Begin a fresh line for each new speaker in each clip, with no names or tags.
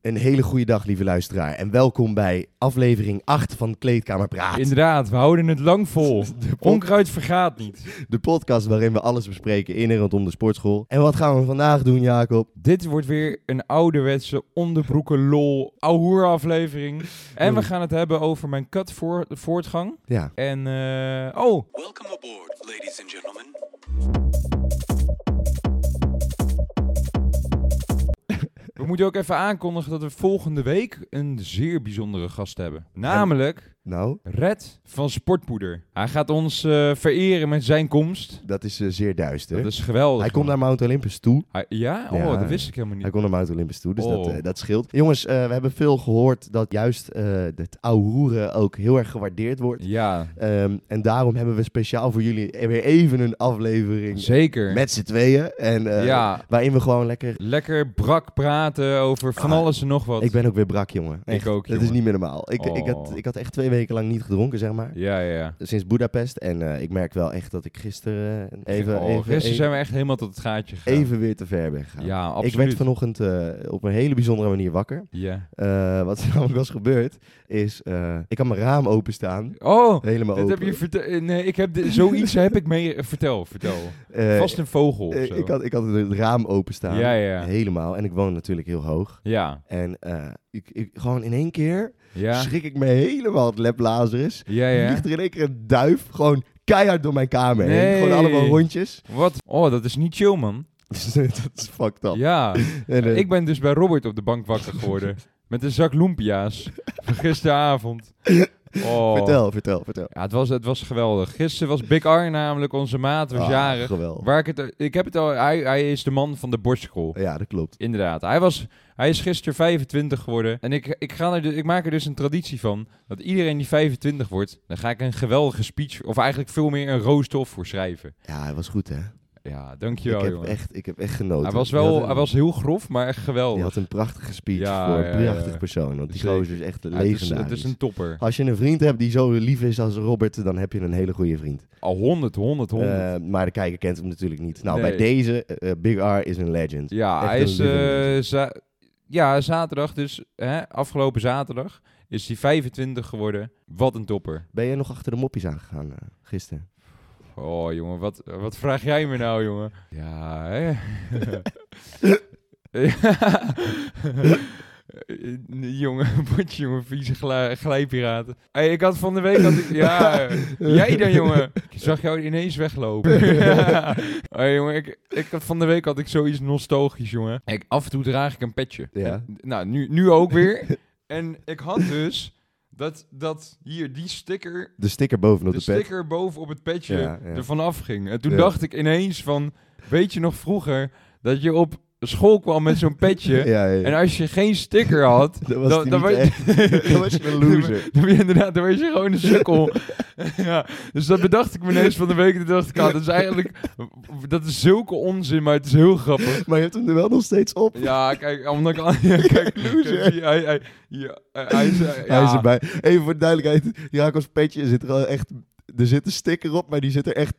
Een hele goede dag, lieve luisteraar. En welkom bij aflevering 8 van Kleedkamer Praat.
Inderdaad, we houden het lang vol. Onkruid vergaat niet.
De podcast waarin we alles bespreken in en rondom de sportschool. En wat gaan we vandaag doen, Jacob?
Dit wordt weer een ouderwetse onderbroeken lol ahoer aflevering. En we gaan het hebben over mijn kat voortgang.
Ja,
En eh, oh,
Welcome aboard, ladies and gentlemen.
we moeten ook even aankondigen dat we volgende week een zeer bijzondere gast hebben. Namelijk
nou,
Red van Sportpoeder. Hij gaat ons eh, vereren met zijn komst.
dat is eh, zeer duister.
Dat is geweldig.
Hij komt
man.
naar Mount Olympus toe.
Hij- ja? Oh,
Ja.
dat wist ik helemaal niet.
Hij komt naar Mount Olympus toe, dus dat,
Oh.
eh, dat scheelt. Jongens, eh, we hebben veel gehoord dat juist eh het ouwehoeren ook heel erg gewaardeerd wordt.
Ja,
Ehm, en daarom hebben we speciaal voor jullie weer even een aflevering
zeker.
met z'n tweeën. En, eh,
Ja.
Waarin we gewoon lekker
Lekker brak praten over van
Ah,
alles en nog wat.
Ik ben ook weer brak, jongen. Echt,
ook,
Dat is
jongen.
niet meer normaal. Ik, ik, had,
Oh.
ik had echt twee weken lang niet gedronken, zeg maar.
Ja, ja, ja.
Sinds Budapest. En eh, ik merk wel echt dat ik gisteren eh, even,
Oh,
even,
gisteren
even,
zijn we echt helemaal tot het gaatje gegaan.
even weer te ver ben gegaan.
Ja, absoluut.
ik werd vanochtend eh, op een hele bijzondere manier wakker.
Ja.
Eh, wat er namelijk was gebeurd, is eh, ik had mijn raam openstaan.
Oh,
Helemaal
dit
open.
heb je verteld. Nee, ik heb dit- zoiets heb ik mee... Vertel, vertel.
Eh,
Vast een vogel of
eh,
zo.
ik, had, ik had het raam openstaan.
Ja, ja.
Helemaal. En ik woon natuurlijk heel hoog.
Ja,
En eh, ik, ik, gewoon in één keer
ja,
schrik ik me helemaal het leplazerus.
ja,
Er
ja.
vliegt er in één keer een duif gewoon keihard door mijn kamer heen.
Nee.
Gewoon allemaal rondjes. Dus, eh,
Wat? Oh, dat is niet chill, man.
dat is fucked up.
Ja.
En, eh,
Ik ben dus bij Robert op de bank wakker geworden. met een zak lumpia's. van gisteravond. Oh.
Vertel, vertel, vertel.
Ja, het was, het was geweldig. Gisteren was Big R namelijk, onze maat, was
Ah,
jarig.
geweldig.
Waar ik het, ik heb het al, hij, hij is de man van de borstcrawl.
Ja, dat klopt.
Inderdaad. Hij, was, hij is gisteren 25 geworden. En ik, ik, ga er, dus- ik maak er dus een traditie van. Dat iedereen die 25 wordt, dan ga ik een geweldige speech, of eigenlijk veel meer een roostof voor schrijven.
Ja, hij was goed, hè?
Ja, dankjewel
ik, heb
jongen.
echt, ik heb echt genoten.
hij was
Je had
wel,
een-
hij was heel grof, maar echt
Je
geweldig.
had een prachtige speech
Ja,
voor
ja,
een
ja,
prachtig
ja.
persoon. Want die
Zeker.
gozer is echt
Ja, het, is,
legendarisch.
het is een topper.
Als je een vriend hebt die zo lief is als Robert, dan heb je een hele goede vriend.
Al 100, 100, 100.
Eh, maar de kijker kent hem natuurlijk niet. Nou,
Nee.
bij deze, eh, Big R is een legend.
Ja,
Echt
hij
een
is
lieve
eh, za- ja, zaterdag dus, hè, afgelopen zaterdag, is hij 25 geworden. Wat een topper.
Ben jij nog achter de moppies aangegaan eh, gisteren?
Oh jongen, wat, wat vraag jij me nou jongen? Ja, hè? Ja. jongen, wat jongen, vieze gla- glijpiraten. Hey, ik had van de week... Had ik, ja, jij dan jongen. Ik zag jou ineens weglopen. hey, jongen, ik, ik had van de week had ik zoiets nostalgisch jongen. Ik, af en toe draag ik een petje.
Ja.
En, nou, nu, nu ook weer. en ik had dus... Dat, dat hier, die sticker
De sticker bovenop de,
de
pet.
sticker boven op het petje
Ja, ja.
er vanaf ging. En toen
Ja.
dacht ik ineens van, weet je nog vroeger dat je op school kwam met zo'n petje
Ja, ja, ja.
en als je geen sticker had,
Dat was die
dan, dan,
niet
was,
Dan was je een loser.
dan ben je inderdaad, dan was je gewoon een sukkel. ja, dus dat bedacht ik me ineens van de week en toen dacht ik, ah, dat is eigenlijk, dat is zulke onzin, maar het is heel grappig.
Maar je hebt hem er wel nog steeds op.
Ja, kijk, omdat ik... Ja, kijk,
Loser.
kijk, hij, hij, ja, hij is, eh,
Hij is
ja.
erbij. Even voor de duidelijkheid. Jacob's petje zit er al echt... Er zit een sticker op, maar die zit er echt...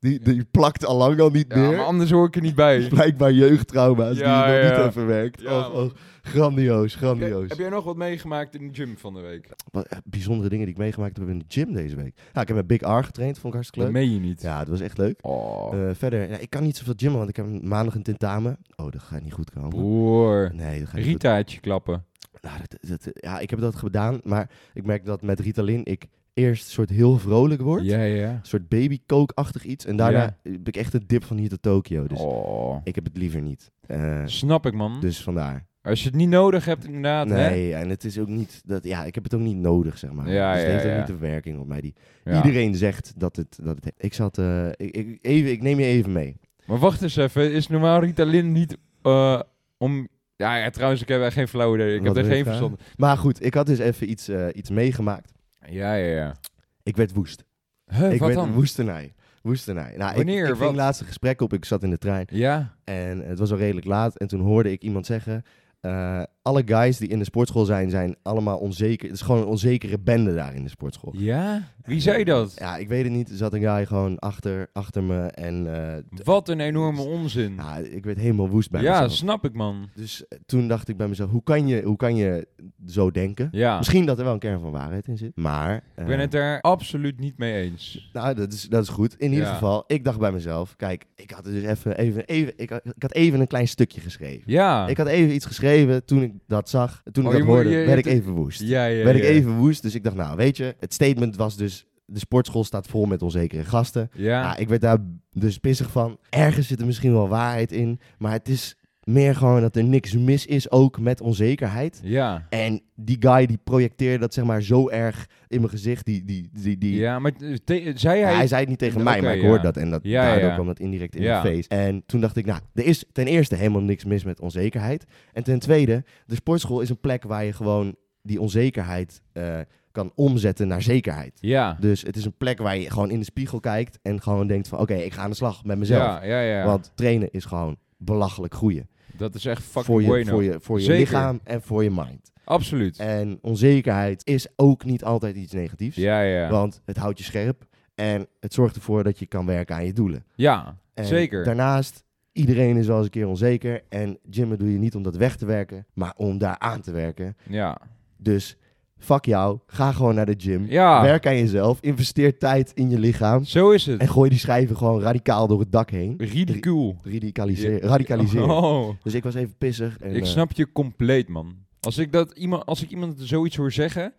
Die, die plakt al lang al niet
Ja,
meer.
maar anders hoor ik er niet bij.
Blijkbaar jeugdtrauma's
Ja,
die je nog
ja.
niet hebt verwerkt.
Ja,
Och,
man.
och, grandioos,
Oké,
grandioos.
Heb jij nog wat meegemaakt in de gym van de week?
Wat, eh, bijzondere dingen die ik meegemaakt heb in de gym deze week. Ja, ik heb met Big R getraind, vond ik hartstikke
Dat
leuk.
meen je niet.
Ja, het was echt leuk.
Oh,
Eh, verder, ja, ik kan niet zoveel gymmen, want ik heb maandag een tentamen. Oh, dat gaat niet goed komen.
broer.
Nee, dat gaat niet goed
Ritaatje klappen.
Nou, dat, dat- ja, ik heb dat gedaan, maar ik merk dat met Ritalin ik eerst soort heel vrolijk word.
Ja, ja.
Een soort babycoke-achtig iets. En daarna
Ja.
heb ik echt een dip van hier tot Tokio. Dus
Oh.
ik heb het liever niet. Eh,
Snap ik, man.
dus vandaar.
Als je het niet nodig hebt, inderdaad. Hè?
nee, en het is ook niet dat. Ja, ik heb het ook niet nodig, zeg maar.
Ja,
dus het
ja,
heeft ook
ja.
niet de werking op mij. Die
Ja.
iedereen zegt dat het. Dat het ik zat. eh, ik, ik, even, ik neem je even mee.
Maar wacht eens even. Is normaal Ritalin niet eh, om... Ja, ja, trouwens, ik heb echt geen flauw idee. Ik
Wat
heb
wil
er
je
geen
vragen?
verstand.
Maar goed, ik had dus even iets, eh, iets meegemaakt.
Ja, ja, ja.
Ik werd woest.
Huh,
ik
Eh, wat
werd
dan?
woestenij. Woestenij. Nou, ik-
Wanneer?
Ik, ging
Wat?
laatste gesprek op. Ik zat in de trein.
Ja.
En het was al redelijk laat. En toen hoorde ik iemand zeggen... eh, alle guys die in de sportschool zijn, zijn allemaal onzeker. Het is gewoon een onzekere bende daar in de sportschool.
Ja? Wie zei dat?
Ja, ik weet het niet. Er zat een guy gewoon achter, achter me en eh, d-
Wat een enorme onzin.
ja, ik werd helemaal woest bij
Ja,
mezelf.
snap ik, man.
Dus eh, toen dacht ik bij mezelf, hoe kan je, hoe kan je zo denken?
Ja,
Misschien dat er wel een kern van waarheid in zit, maar... eh,
ik ben het daar absoluut niet mee eens.
Nou, dat is, dat is goed. In ieder
Ja.
geval, ik dacht bij mezelf, kijk, ik had er dus even, even, even ik, had, ik had even een klein stukje geschreven.
Ja.
Ik had even iets geschreven, toen ik dat zag, toen
Oh,
ik
je
dat
moet-
hoorde,
je- je
werd ik
hebt-
even woest.
ja, ja,
werd
ja.
ik even woest, dus ik dacht, nou, weet je, het statement was dus, de sportschool staat vol met onzekere gasten.
Ja.
Nou, ik werd daar dus pissig van. Ergens zit er misschien wel waarheid in, maar het is meer gewoon dat er niks mis is, ook met onzekerheid.
Ja.
En die guy die projecteerde dat zeg maar zo erg in mijn gezicht, die, die, die, die,
Ja, maar eh, te- zei
ja,
hij...
hij zei het niet tegen mij,
Oké,
maar ik
ja.
hoorde dat. En dat,
Ja,
daardoor
ja.
kwam dat indirect in
Ja.
mijn face. En toen dacht ik, nou, er is ten eerste helemaal niks mis met onzekerheid. En ten tweede, de sportschool is een plek waar je gewoon die onzekerheid eh, kan omzetten naar zekerheid.
Ja.
Dus het is een plek waar je gewoon in de spiegel kijkt en gewoon denkt van... oké, ik ga aan de slag met mezelf.
Ja, ja, ja.
Want trainen is gewoon belachelijk groeien.
dat is echt fucking
Voor je,
bueno.
voor je, voor je
Zeker.
lichaam en voor je mind.
Absoluut.
En onzekerheid is ook niet altijd iets negatiefs.
Ja, ja.
Want het houdt je scherp en het zorgt ervoor dat je kan werken aan je doelen.
ja,
En
zeker.
Daarnaast, iedereen is wel eens een keer onzeker. En gymmen doe je niet om dat weg te werken, maar om daar aan te werken.
Ja.
Dus fuck jou, ga gewoon naar de gym.
Ja.
Werk aan jezelf, investeer tijd in je lichaam.
Zo is het.
En gooi die schijven gewoon radicaal door het dak heen.
Ridicule.
Radicaliseer. radicaliseren.
Oh.
Dus ik was even pissig. En,
Ik
eh,
snap je compleet, man. Als ik, dat iemand, als ik iemand zoiets hoor zeggen,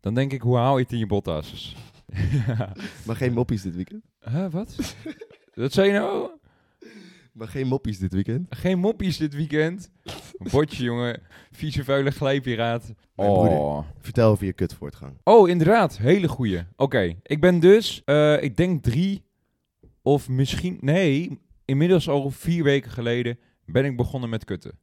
dan denk ik, hoe haal je het in je botta's?
Maar geen moppies dit weekend.
Huh, wat? dat zei je nou?
Maar geen moppies dit weekend.
Geen moppies dit weekend. Botje, jongen. Vieze, vuile glijpiraat.
Mijn
Oh.
broeder. Vertel over je kutvoortgang.
oh, inderdaad. Hele goeie. Oké, ik ben dus, eh, ik denk drie of misschien, nee, inmiddels al vier weken geleden ben ik begonnen met kutten.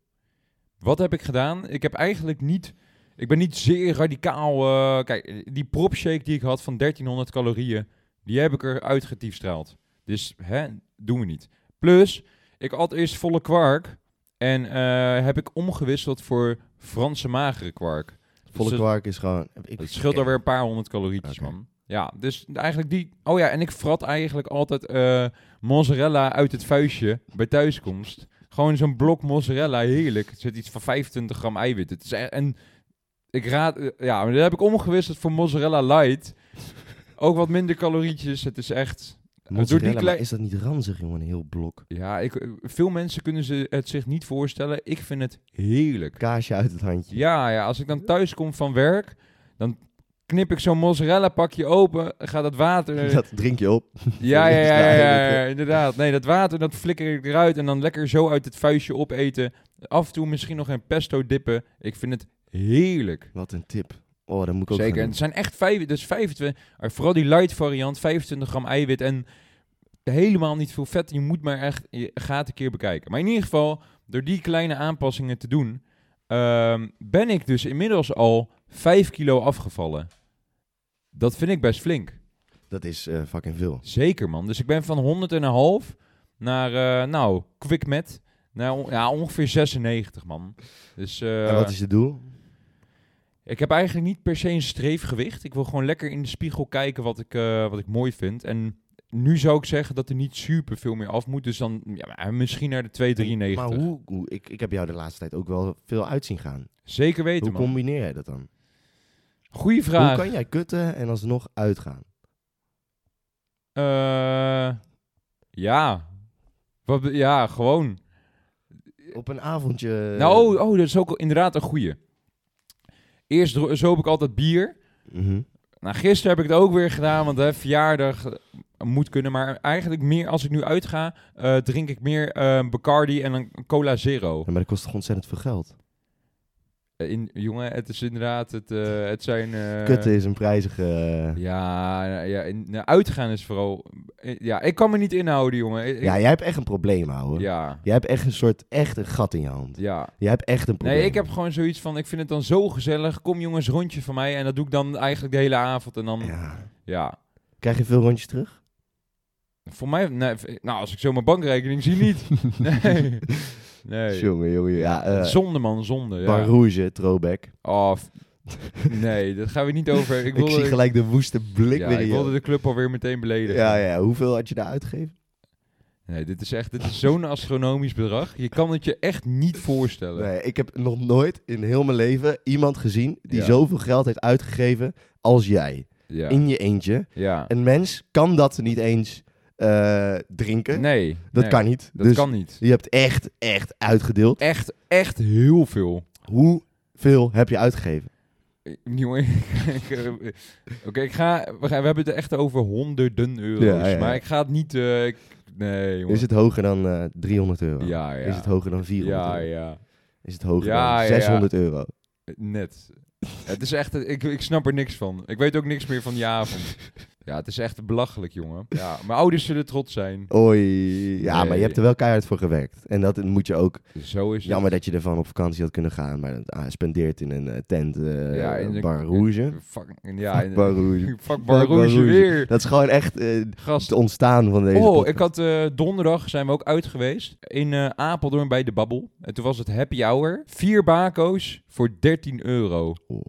Wat heb ik gedaan? Ik heb eigenlijk niet, ik ben niet zeer radicaal. eh, kijk, die propshake die ik had van 1300 calorieën, die heb ik eruit getiefstraald. Dus, hè, doen we niet. Plus, ik had eerst volle kwark en eh, heb ik omgewisseld voor Franse magere kwark.
Volle
Dus-
kwark is gewoon... Ik,
het scheelt alweer een paar honderd calorietjes,
Oké.
man. Ja, dus eigenlijk die... Oh ja, en ik frat eigenlijk altijd eh, mozzarella uit het vuistje bij thuiskomst. Gewoon zo'n blok mozzarella, heerlijk. Er zit iets van 25 gram eiwit. Het is e- en ik raad... eh, ja, maar dat heb ik omgewisseld voor mozzarella light. Ook wat minder calorietjes. Het is echt...
Mozzarella,
Door die klei-
maar is dat niet ranzig, jongen? Een heel blok.
Ja, ik, eh, veel mensen kunnen ze het zich niet voorstellen. Ik vind het heerlijk.
Kaasje uit het handje.
Ja, ja, als ik dan thuis kom van werk, dan knip ik zo'n mozzarella pakje open, gaat dat water...
Dat drink je op.
ja, ja, ja,
Ja,
ja, ja,
dat,
ja, inderdaad. Nee, dat water, dat flikker ik eruit en dan lekker zo uit het vuistje opeten. Af en toe misschien nog een pesto dippen. Ik vind het heerlijk.
Wat een tip. Oh, dat moet ik ook
Zeker, en
gaan
het zijn echt vijf, dus 25, eh, vooral die light variant, 25 gram eiwit en helemaal niet veel vet. Je moet maar echt, je gaat een keer bekijken. Maar in ieder geval, door die kleine aanpassingen te doen, ehm, ben ik dus inmiddels al 5 kilo afgevallen. Dat vind ik best flink.
doen. Dat is eh, fucking veel.
Zeker man. Dus ik ben van 100 en een half naar, eh, nou, quick met, naar on- ja, ongeveer 96 man. Dus, eh,
en wat is je doel?
ik heb eigenlijk niet per se een streefgewicht. Ik wil gewoon lekker in de spiegel kijken wat ik, eh, wat ik mooi vind. En nu zou ik zeggen dat er niet super veel meer af moet. Dus dan ja, maar misschien naar de 2,93.
Maar hoe, hoe ik, ik heb jou de laatste tijd ook wel veel uit zien gaan.
Zeker
Hoe
weten, man.
combineer jij dat dan?
Goeie
Hoe
vraag.
kan jij kutten en alsnog uitgaan?
Eh, ja. Wat, be- ja, gewoon.
Op een avondje... eh,
nou, oh, oh, dat is ook inderdaad een goeie. Eerst dro- zoop ik altijd bier.
Mhm.
Nou, gisteren heb ik het ook weer gedaan, want hè, verjaardag eh, moet kunnen. Maar eigenlijk meer, als ik nu uitga, eh, drink ik meer eh, Bacardi en een Cola Zero.
Ja, maar dat kost toch ontzettend veel geld?
Eh, In, jongen, het is inderdaad, het, eh, het zijn... eh,
Kutten is een prijzige... eh,
Ja, nou, ja in, nou, uitgaan is vooral... eh, Ja, ik kan me niet inhouden, jongen. Ik-
Ja, jij hebt echt een probleem, ouwe.
ja,
Jij hebt echt een soort... Echt een gat in je hand.
ja.
Jij hebt echt een probleem.
Nee, ik heb gewoon zoiets van, ik vind het dan zo gezellig. Kom jongens, rondje van mij. En dat doe ik dan eigenlijk de hele avond. En dan, ja.
Ja. Krijg je veel rondjes terug?
Voor mij, nee, v- nou, als ik zo mijn bankrekening zie, niet. Nee. Nee.
Jongen, jongen. Ja, eh
zonde, man, zonde. Ja.
Bar Rouge, throwback.
Oh, f- nee, dat gaan we niet over. Ik,
Ik
wilde,
zie gelijk de woeste blik
ja,
weer in
ik
je
wilde de club alweer meteen beledigen.
Ja, ja. Hoeveel had je daar uitgegeven?
Nee, dit is echt dit is zo'n astronomisch bedrag. Je kan het je echt niet voorstellen.
Nee, ik heb nog nooit in heel mijn leven iemand gezien die
Ja.
zoveel geld heeft uitgegeven als jij.
Ja.
In je eentje.
ja.
Een mens kan dat niet eens eh, drinken.
Nee.
dat
nee,
kan niet.
Dat
dus
kan niet.
je hebt echt, echt uitgedeeld.
Echt, echt heel veel.
Hoeveel heb je uitgegeven?
Eh, Jongen, ik, eh, Oké, ik ga, we, gaan, we hebben het echt over honderden euro's.
Ja, ja, ja.
Maar ik ga het niet... eh, ik- nee, jongen.
Is het hoger dan eh, 300 euro?
Ja, ja.
Is het hoger dan 400
Ja,
euro?
ja.
Is het hoger
Ja, ja,
dan
ja.
600 euro?
Net. het is echt, ik, ik snap er niks van. Ik weet ook niks meer van die avond. Ja, het is echt belachelijk, jongen. Ja, mijn ouders zullen trots zijn.
Oei. Ja, maar
Nee.
je hebt er wel keihard voor gewerkt. En dat moet je ook...
Zo is het.
Jammer dat je ervan op vakantie had kunnen gaan, maar ah, spendeert in een eh, tent eh
Ja, in de-
Bar Rouge.
Fuck, ja, eh,
Fuck Bar Rouge.
Fuck
Fuck Bar
Barouche
Rouge.
weer.
Dat is gewoon echt eh, het
Gast.
ontstaan van deze
Oh,
podcast.
ik had eh, donderdag zijn we ook uit geweest in eh, Apeldoorn bij de Babbel. En toen was het happy hour. Vier bako's voor 13 euro.
Oh,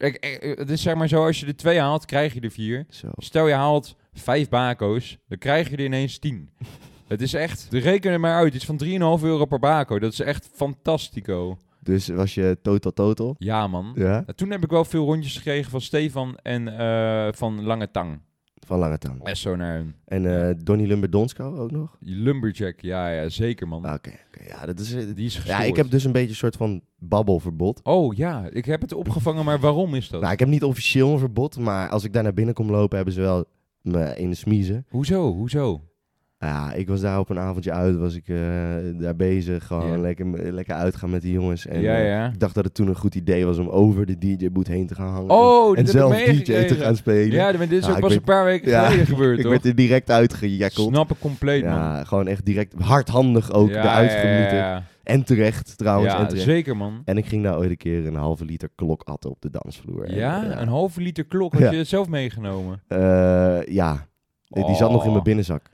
Ik, ik- het is zeg maar zo, als je er twee haalt, krijg je er vier.
zo.
Stel je haalt vijf bako's, dan krijg je er ineens tien. Het is echt, reken er maar uit, iets van 3,5 euro per bako. Dat is echt fantastico.
Dus was je total total?
Ja man.
Ja,
Nou, Toen heb ik wel veel rondjes gekregen van Stefan en eh, van Lange Tang.
van Lange Tang.
En zo naar een
En eh Donny Lumberdonsko ook nog?
lumberjack. Ja, ja, zeker man.
Ah, Oké, oké. ja, dat is... eh,
Die is
ja,
gestoord.
ik heb dus een beetje een soort van babbelverbod.
Oh ja, ik heb het opgevangen, maar waarom is dat?
Nou, ik heb niet officieel een verbod, maar als ik daar naar binnen kom lopen, hebben ze wel me in de smiezen.
Hoezo, hoezo?
Nou Ja, ik was daar op een avondje uit, was ik eh, daar bezig, gewoon
Ja.
lekker, lekker uitgaan met die jongens. En,
ja,
eh,
ja.
Ik dacht dat het toen een goed idee was om over de DJ-boot heen te gaan hangen.
Oh,
en
dit
zelf
heb ik
DJ te
meegekregen.
gaan spelen.
Ja, maar dit is
Ja,
ook
ik
pas
weet-
een paar weken
Ja,
geleden gebeurd,
ik
toch?
werd er direct uitgejakkeld.
Snap ik compleet, man.
ja, gewoon echt direct hardhandig ook
Ja,
eruit
ja,
genieten.
ja, ja.
En terecht trouwens.
Ja,
en, terecht.
zeker, man.
en ik ging daar ooit een keer een halve liter klok atten op de dansvloer. En,
Ja,
eh,
een halve liter klok had
Ja.
je het zelf meegenomen.
eh, ja. Die die zat nog in
Oh.
mijn binnenzak.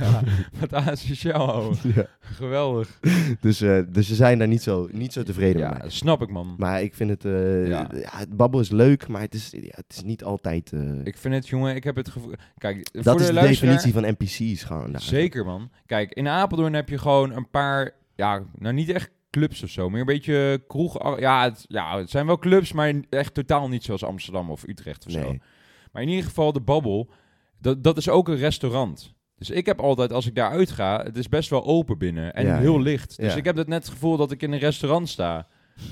Ja, Wat asociaal, ouwe.
Ja.
Geweldig.
Dus, eh, dus ze zijn daar niet zo, niet zo tevreden mee.
Ja, snap ik, man.
Maar ik vind het... eh,
Ja.
ja. het babbel is leuk, maar het is, ja, het is niet altijd... eh,
Ik vind het, jongen, ik heb het gevoel... Kijk,
dat
voor
is
de
de
luisteraar...
definitie van NPC's gewoon. daar.
Zeker, man. Kijk, in Apeldoorn heb je gewoon een paar... Ja, nou niet echt clubs of zo, meer een beetje kroeg... Ja, het, ja, het zijn wel clubs, maar echt totaal niet zoals Amsterdam of Utrecht of zo.
Nee.
Maar in ieder geval, de Babbel, dat, dat is ook een restaurant. Dus ik heb altijd, als ik daaruit ga, het is best wel open binnen en
Ja,
heel
ja.
licht. Dus
Ja.
ik heb dat net het gevoel dat ik in een restaurant sta.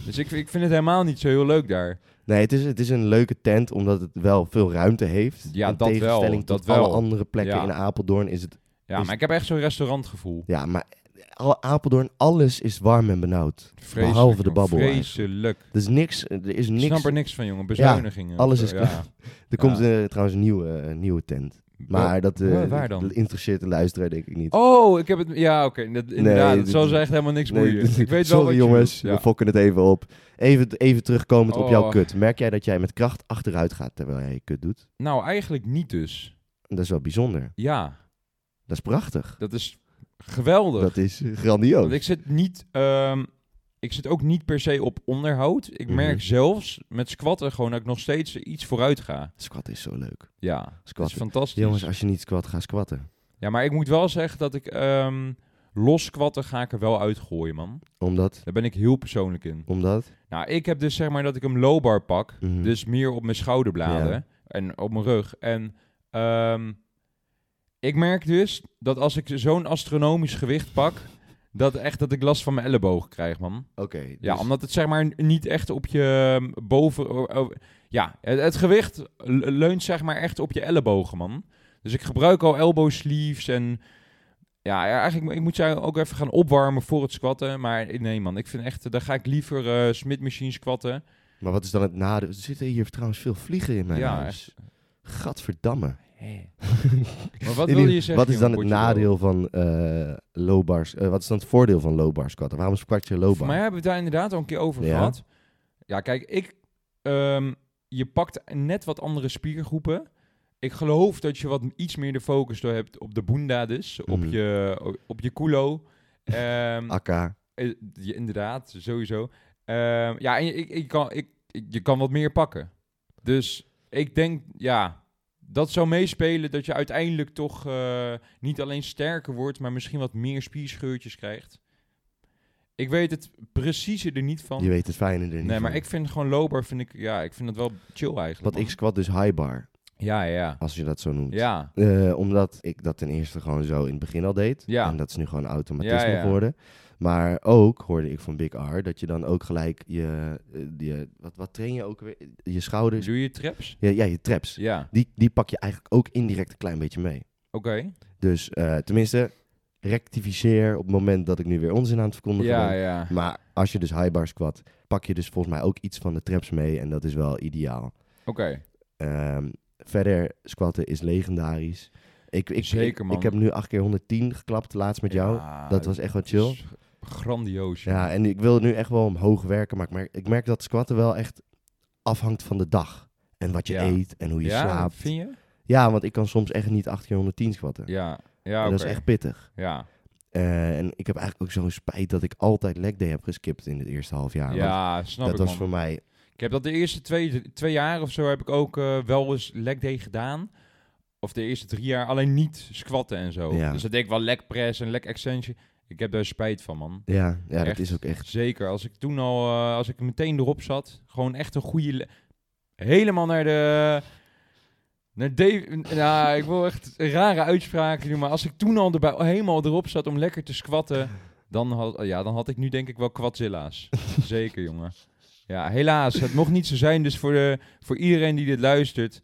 Dus ik, ik vind het helemaal niet zo heel leuk daar.
Nee, het is, het is een leuke tent omdat het wel veel ruimte heeft.
Ja,
in
dat wel,
tegenstelling
dat
tot alle
wel.
andere plekken
Ja.
in Apeldoorn is het...
Ja,
Is-
maar ik heb echt zo'n restaurantgevoel.
Ja, maar alle- Apeldoorn, alles is warm en benauwd.
Vreselijk,
Behalve de
jongen,
babbel eigenlijk.
Vreselijk.
Er is niks, er is
Ik
niks.
snap er niks van, jongen. Bezuinigingen.
alles
of
is
zo,
klaar. Er komt eh, trouwens een nieuwe, eh, nieuwe tent. Maar dat eh,
waar- waar dan?
dat interesseert de luisteraar denk ik niet.
Oh, ik heb het... Ja, oké. dat- Inderdaad,
dit-
het zal ze echt helemaal niks
Nee,
boeien.
dit-
ik weet wel
sorry
wat je
jongens,
bedoelt,
we fokken het even op. Even, even terugkomend op jouw
Oh.
kut. Merk jij dat jij met kracht achteruit gaat terwijl jij je kut doet?
ja. Nou, eigenlijk niet dus.
Dat is wel bijzonder.
Ja,
Dat is prachtig.
dat is geweldig.
Dat is grandioos.
Want ik zit niet. ehm, ik zit ook niet per se op onderhoud. Ik merk
Mhm.
zelfs met squatten gewoon dat ik nog steeds iets vooruit ga.
Squat is zo leuk.
Ja, dat is
Squatten.
fantastisch.
Jongens, als je niet squat, ga squatten.
Ja, maar ik moet wel zeggen dat ik ehm los squatten ga ik er wel uitgooien, man.
Omdat?
Daar ben ik heel persoonlijk in.
Omdat?
Nou, ik heb dus zeg maar dat ik hem low bar pak.
Mhm.
Dus meer op mijn schouderbladen
Ja.
en op mijn rug. En ehm, ik merk dus dat als ik zo'n astronomisch gewicht pak, dat echt dat ik last van mijn elleboog krijg, man.
Oké.
Ja,
dus-
omdat het zeg maar niet echt op je ehm, boven... o- o- ja, het, het gewicht le- leunt zeg maar echt op je ellebogen, man. Dus ik gebruik al elbow sleeves en... Ja, ja, eigenlijk ik moet zij ook even gaan opwarmen voor het squatten. Maar nee, man, ik vind echt... Dan ga ik liever eh Smith Machine squatten.
Maar wat is dan het nadeel? Er zitten hier trouwens veel vliegen in mijn
Ja,
huis. Gadverdamme.
maar wat
In
wilde
ieder-
je zeggen?
Wat is dan
jongen,
het
Portugal?
nadeel van eh low bars? eh, wat is dan het voordeel van low bar squatten? Waarom squat je low
Voor
bar?
mij hebben we het daar inderdaad al een keer over
Ja.
gehad. Ja, kijk, ik... ehm, je pakt net wat andere spiergroepen. Ik geloof dat je wat iets meer de focus door hebt op de bunda dus. Op,
Mhm.
je, op je culo. Ehm,
Akka,
eh, je- inderdaad, sowieso. Ehm, ja, en je- ik, ik kan, ik, ik- je kan wat meer pakken. Dus ik denk, ja, dat zou meespelen dat je uiteindelijk toch eh, niet alleen sterker wordt, maar misschien wat meer spierscheurtjes krijgt. Ik weet het precieze er niet van.
Je weet het fijne er niet
nee, maar
van.
ik vind gewoon loper, vind ik, ja, ik vind dat wel chill eigenlijk.
Wat
man.
ik squat dus high bar,
Ja, ja,
als je dat zo noemt.
ja.
Eh, omdat ik dat ten eerste gewoon zo in het begin al deed.
Ja.
En dat is nu gewoon automatisme
Ja, ja.
geworden. Maar ook hoorde ik van Big R dat je dan ook gelijk je. eh, je wat, wat train je ook weer? Je schouders.
Doe je traps?
Ja, ja, je traps.
Ja,
Die, die pak je eigenlijk ook indirect een klein beetje mee.
oké.
Dus eh, tenminste, rectificeer op het moment dat ik nu weer onzin aan het verkondigen
Ja,
ben.
ja.
Maar als je dus high bar squat, pak je dus volgens mij ook iets van de traps mee. En dat is wel ideaal.
Oké.
Ehm, verder, squatten is legendarisch. Ik, ik,
Zeker,
ik-
man.
Ik heb nu acht keer 110 geklapt, laatst met jou.
Ja,
Dat was echt wel chill.
is Grandioos. joh.
Ja, en ik wil nu echt wel omhoog werken. Maar ik merk, ik merk dat squatten wel echt afhangt van de dag. En wat je
Ja.
eet en hoe je
ja,
slaapt.
vind je?
Ja, want ik kan soms echt niet acht keer 110 squatten.
Ja, ja,
En
oké.
Dat is echt pittig.
Ja,
Eh, en ik heb eigenlijk ook zo'n spijt dat ik altijd leg day heb geskipt in het eerste half jaar.
ja,
want
snap
dat
ik,
was
man.
voor mij...
Ik heb dat de eerste twee, twee jaar of zo heb ik ook eh, wel eens leg day gedaan. Of de eerste drie jaar, alleen niet squatten en zo.
Ja.
Dus dat deed ik wel leg press en leg extension. Ik heb daar spijt van, man.
Ja, ja dat
Echt.
is ook echt...
Zeker, als ik toen al, eh, als ik meteen erop zat, gewoon echt een goede... le- Helemaal naar de... Naar Dave, nou, ik wil echt rare uitspraken doen, maar als ik toen al erbij, helemaal erop zat om lekker te squatten, dan had, ja, dan had ik nu denk ik wel kwatzilla's. Zeker, jongen. Ja, helaas, het mocht niet zo zijn, dus voor, de, voor iedereen die dit luistert,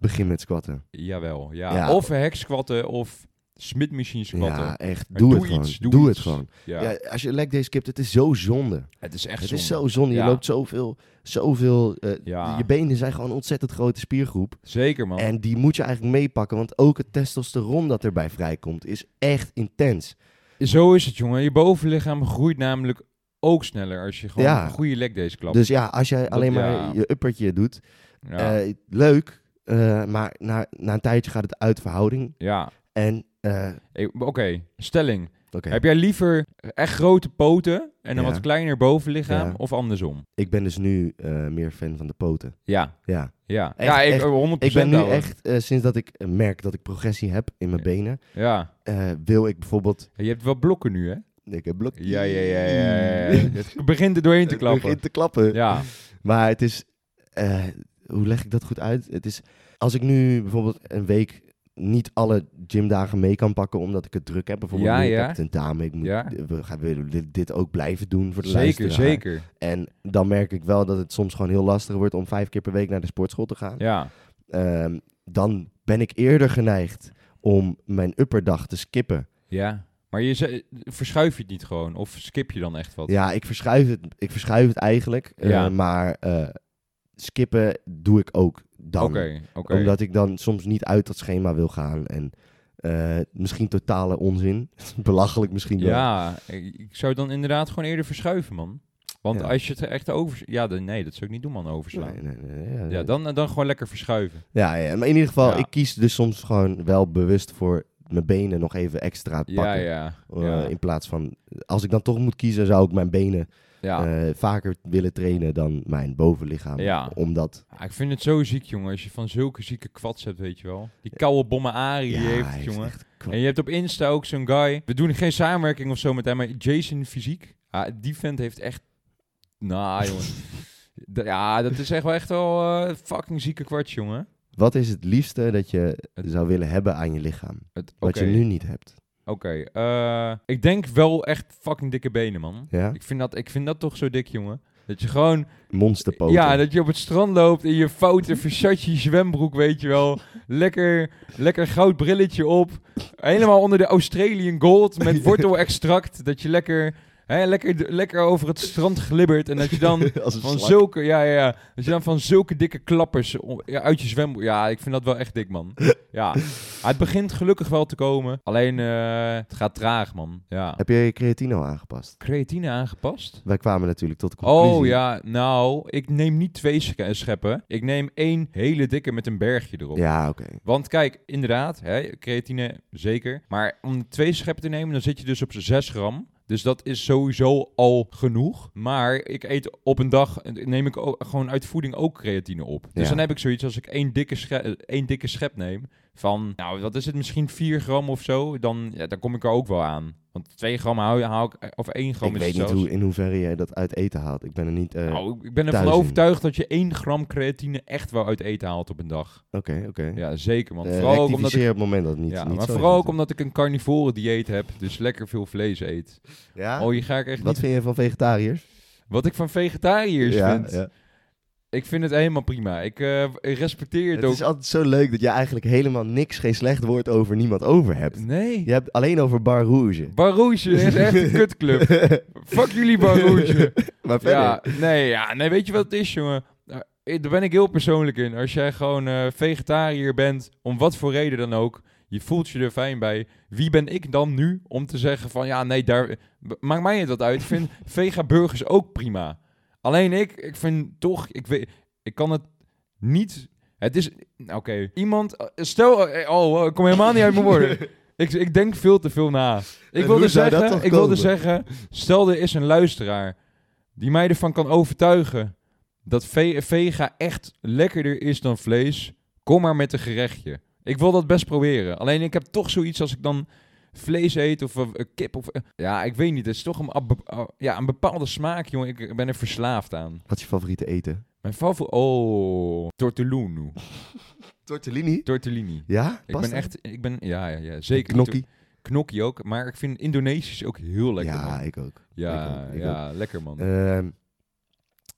Begin met squatten.
jawel. Ja.
Ja.
Of heks squatten, of smidmachine squatten.
Ja, echt.
Maar
Doe,
doe
het gewoon.
iets, doe
doe het
iets.
gewoon.
Ja,
Ja. als je leg day skipt, het is zo zonde.
het is echt
het is
zonde.
zo zonde. Je
Ja.
loopt zoveel... zoveel eh,
Ja. Oh.
Je benen zijn gewoon een ontzettend grote spiergroep.
Zeker, man.
En die moet je eigenlijk meepakken, want ook het testosteron dat erbij vrijkomt is echt intens.
Zo is het, jongen. Je bovenlichaam groeit namelijk ook sneller als je gewoon
Ja.
een goede leg days klapt.
Dus ja, als jij alleen maar
ja.
je uppertje doet,
ja.
eh, leuk, eh, maar na, na een tijdje gaat het uit verhouding.
ja.
En, eh,
Ik- Oké, stelling.
oké,
Heb jij liever echt grote poten en een
Ja.
wat kleiner bovenlichaam
Ja.
of andersom?
ik ben dus nu eh, meer fan van de poten.
Ja,
Ja,
ja.
Echt,
ja, ik, eh,
echt.
100%
ik ben nu
ouwe.
echt, eh, sinds dat ik eh, merk dat ik progressie heb in mijn
Ja.
benen,
Ja.
eh, wil ik bijvoorbeeld...
Je hebt wel blokken nu, hè?
Ik heb blok.
Ja, ja, ja. ja, ja, ja. Het begint er doorheen te
Het
klappen.
begint te klappen.
Ja,
Maar het is, eh, hoe leg ik dat goed uit? Het is, als ik nu bijvoorbeeld een week niet alle gymdagen mee kan pakken omdat ik het druk heb. Bijvoorbeeld
Ja,
nu, ik
ja.
heb tentamen, ik moet,
Ja.
we gaan we dit, dit ook blijven doen voor de
zeker,
luisteraar.
zeker.
En dan merk ik wel dat het soms gewoon heel lastig wordt om vijf keer per week naar de sportschool te gaan.
Ja,
Ehm, dan ben ik eerder geneigd om mijn upperdag te skippen.
ja. Maar je ze- verschuif je het niet gewoon of skip je dan echt wat?
Ja, ik verschuif het, ik verschuif het eigenlijk, eh,
Ja.
maar eh, skippen doe ik ook dan.
Oké, oké.
Omdat ik dan soms niet uit dat schema wil gaan. En eh, misschien totale onzin. Belachelijk misschien wel.
Ja, ik, ik zou dan inderdaad gewoon eerder verschuiven, man. Want
Ja.
als je het echt over... Ja, dan, nee, dat zou ik niet doen, man, overslaan.
Nee, nee, nee, ja,
Ja,
nee.
dan, dan gewoon lekker verschuiven.
ja, ja, maar in ieder geval,
Ja.
ik kies dus soms gewoon wel bewust voor mijn benen nog even extra pakken.
Ja, ja.
Eh,
ja,
in plaats van, als ik dan toch moet kiezen, zou ik mijn benen
ja.
eh, vaker willen trainen dan mijn bovenlichaam.
Ja.
Omdat,
Ah, ik vind het zo ziek, jongen, als je van zulke zieke kwats hebt, weet je wel. Die koude bommen Arie
ja,
die heeft,
hij
het,
is
jongen.
echt kwa-
En je hebt op Insta ook zo'n guy. We doen geen samenwerking of zo met hem, maar Jason Fysiek. Ah, die vent heeft echt... Nou, jongen. D- ja, dat is echt wel echt wel eh, fucking zieke kwats, jongen.
Wat is het liefste dat je
Het-
zou willen hebben aan je lichaam?
Het,
Wat
oké.
je nu niet hebt.
Oké, eh, ik denk wel echt fucking dikke benen, man.
Ja?
Ik vind, dat, ik vind dat toch zo dik, jongen. Dat je gewoon...
Monsterpoten.
Ja, dat je op het strand loopt in je foute versatje zwembroek, weet je wel. Lekker, lekker goud brilletje op. Helemaal onder de Australian Gold met wortelextract. Dat je lekker, hè, lekker, lekker over het strand glibbert. En dat je dan
Als een
van
slak.
zulke... Ja, ja, ja. Dat je dan van zulke dikke klappers o- ja, uit je zwembroek... Ja, ik vind dat wel echt dik, man. Ja. Maar het begint gelukkig wel te komen. Alleen, eh, het gaat traag, man. Ja.
Heb je je creatino aangepast?
Creatine aangepast?
Wij kwamen natuurlijk tot de conclusie.
Oh ja, nou, ik neem niet twee sche- scheppen. Ik neem één hele dikke met een bergje erop.
Ja, oké.
Want kijk, inderdaad, hè, creatine zeker. Maar om twee scheppen te nemen, dan zit je dus op z'n 6 gram. Dus dat is sowieso al genoeg. Maar ik eet op een dag, neem ik ook, gewoon uit voeding ook creatine op. Dus
Ja.
dan heb ik zoiets als ik één dikke, sche- eh, één dikke schep neem van, nou wat is het, misschien 4 gram of zo. Dan, ja, dan kom ik er ook wel aan. Want 2 gram haal, haal ik, of 1 gram
ik
is
weet
het
niet
zelfs.
hoe, in hoeverre jij dat uit eten haalt. Ik ben er niet... eh, Oké,
Nou, ik ben ervan
thuis in.
overtuigd dat je 1 gram creatine echt wel uit eten haalt op een dag.
oké.
Ja, zeker man.
Eh,
vooral ook omdat ik,
rectificeer op het moment dat het niet,
ja,
niet
maar
zo
vooral
is
ook omdat ik een carnivore dieet heb, dus lekker veel vlees eet.
natuurlijk. Ja?
Oh, je ga ik echt
Wat
niet...
vind je van vegetariërs?
Wat ik van vegetariërs
ja,
vind,
ja.
ik vind het helemaal prima. Ik eh, ik respecteer het,
Het
ook.
is altijd zo leuk dat je eigenlijk helemaal niks, geen slecht woord over niemand over hebt.
Nee.
Je hebt alleen over Bar Rouge.
Barouche is echt een kutclub. Fuck jullie Barouche.
maar verder,
ja, nee, ja, nee, weet je wat het is, jongen? Nou, ik- Daar ben ik heel persoonlijk in. Als jij gewoon eh, vegetariër bent, om wat voor reden dan ook, je voelt je er fijn bij. Wie ben ik dan nu om te zeggen van, ja, nee, daar... Maakt mij het wat uit. Ik vind vega burgers ook prima. Alleen ik, ik vind toch, ik weet, ik kan het niet... Het is, nou, oké, iemand, stel, eh, oh, ik kom helemaal niet uit mijn woorden. Ik, ik denk veel te veel na. Ik
En
wilde,
hoe zou dat toch
zeggen, ik wilde
komen?
zeggen, stel er is een luisteraar die mij ervan kan overtuigen dat ve- vega echt lekkerder is dan vlees, kom maar met een gerechtje. Ik wil dat best proberen. Alleen ik heb toch zoiets als ik dan vlees eet of eh, kip of... eh, ja, ik weet niet. Het is toch een, ab- ab- ja, een bepaalde smaak, jongen. Ik ben er verslaafd aan.
wat is je favoriete eten?
Mijn favoriet... Oh, tortellini.
Tortellini?
Tortellini.
Ja?
Ik
Past
ben
dat?
echt... Ik ben, ja, ja, ja, zeker.
Knokkie?
Knokkie ook, maar ik vind Indonesisch ook heel lekker.
ja,
man.
ik ook.
ja,
ik ook, ik
ja lekker man.
Ehm,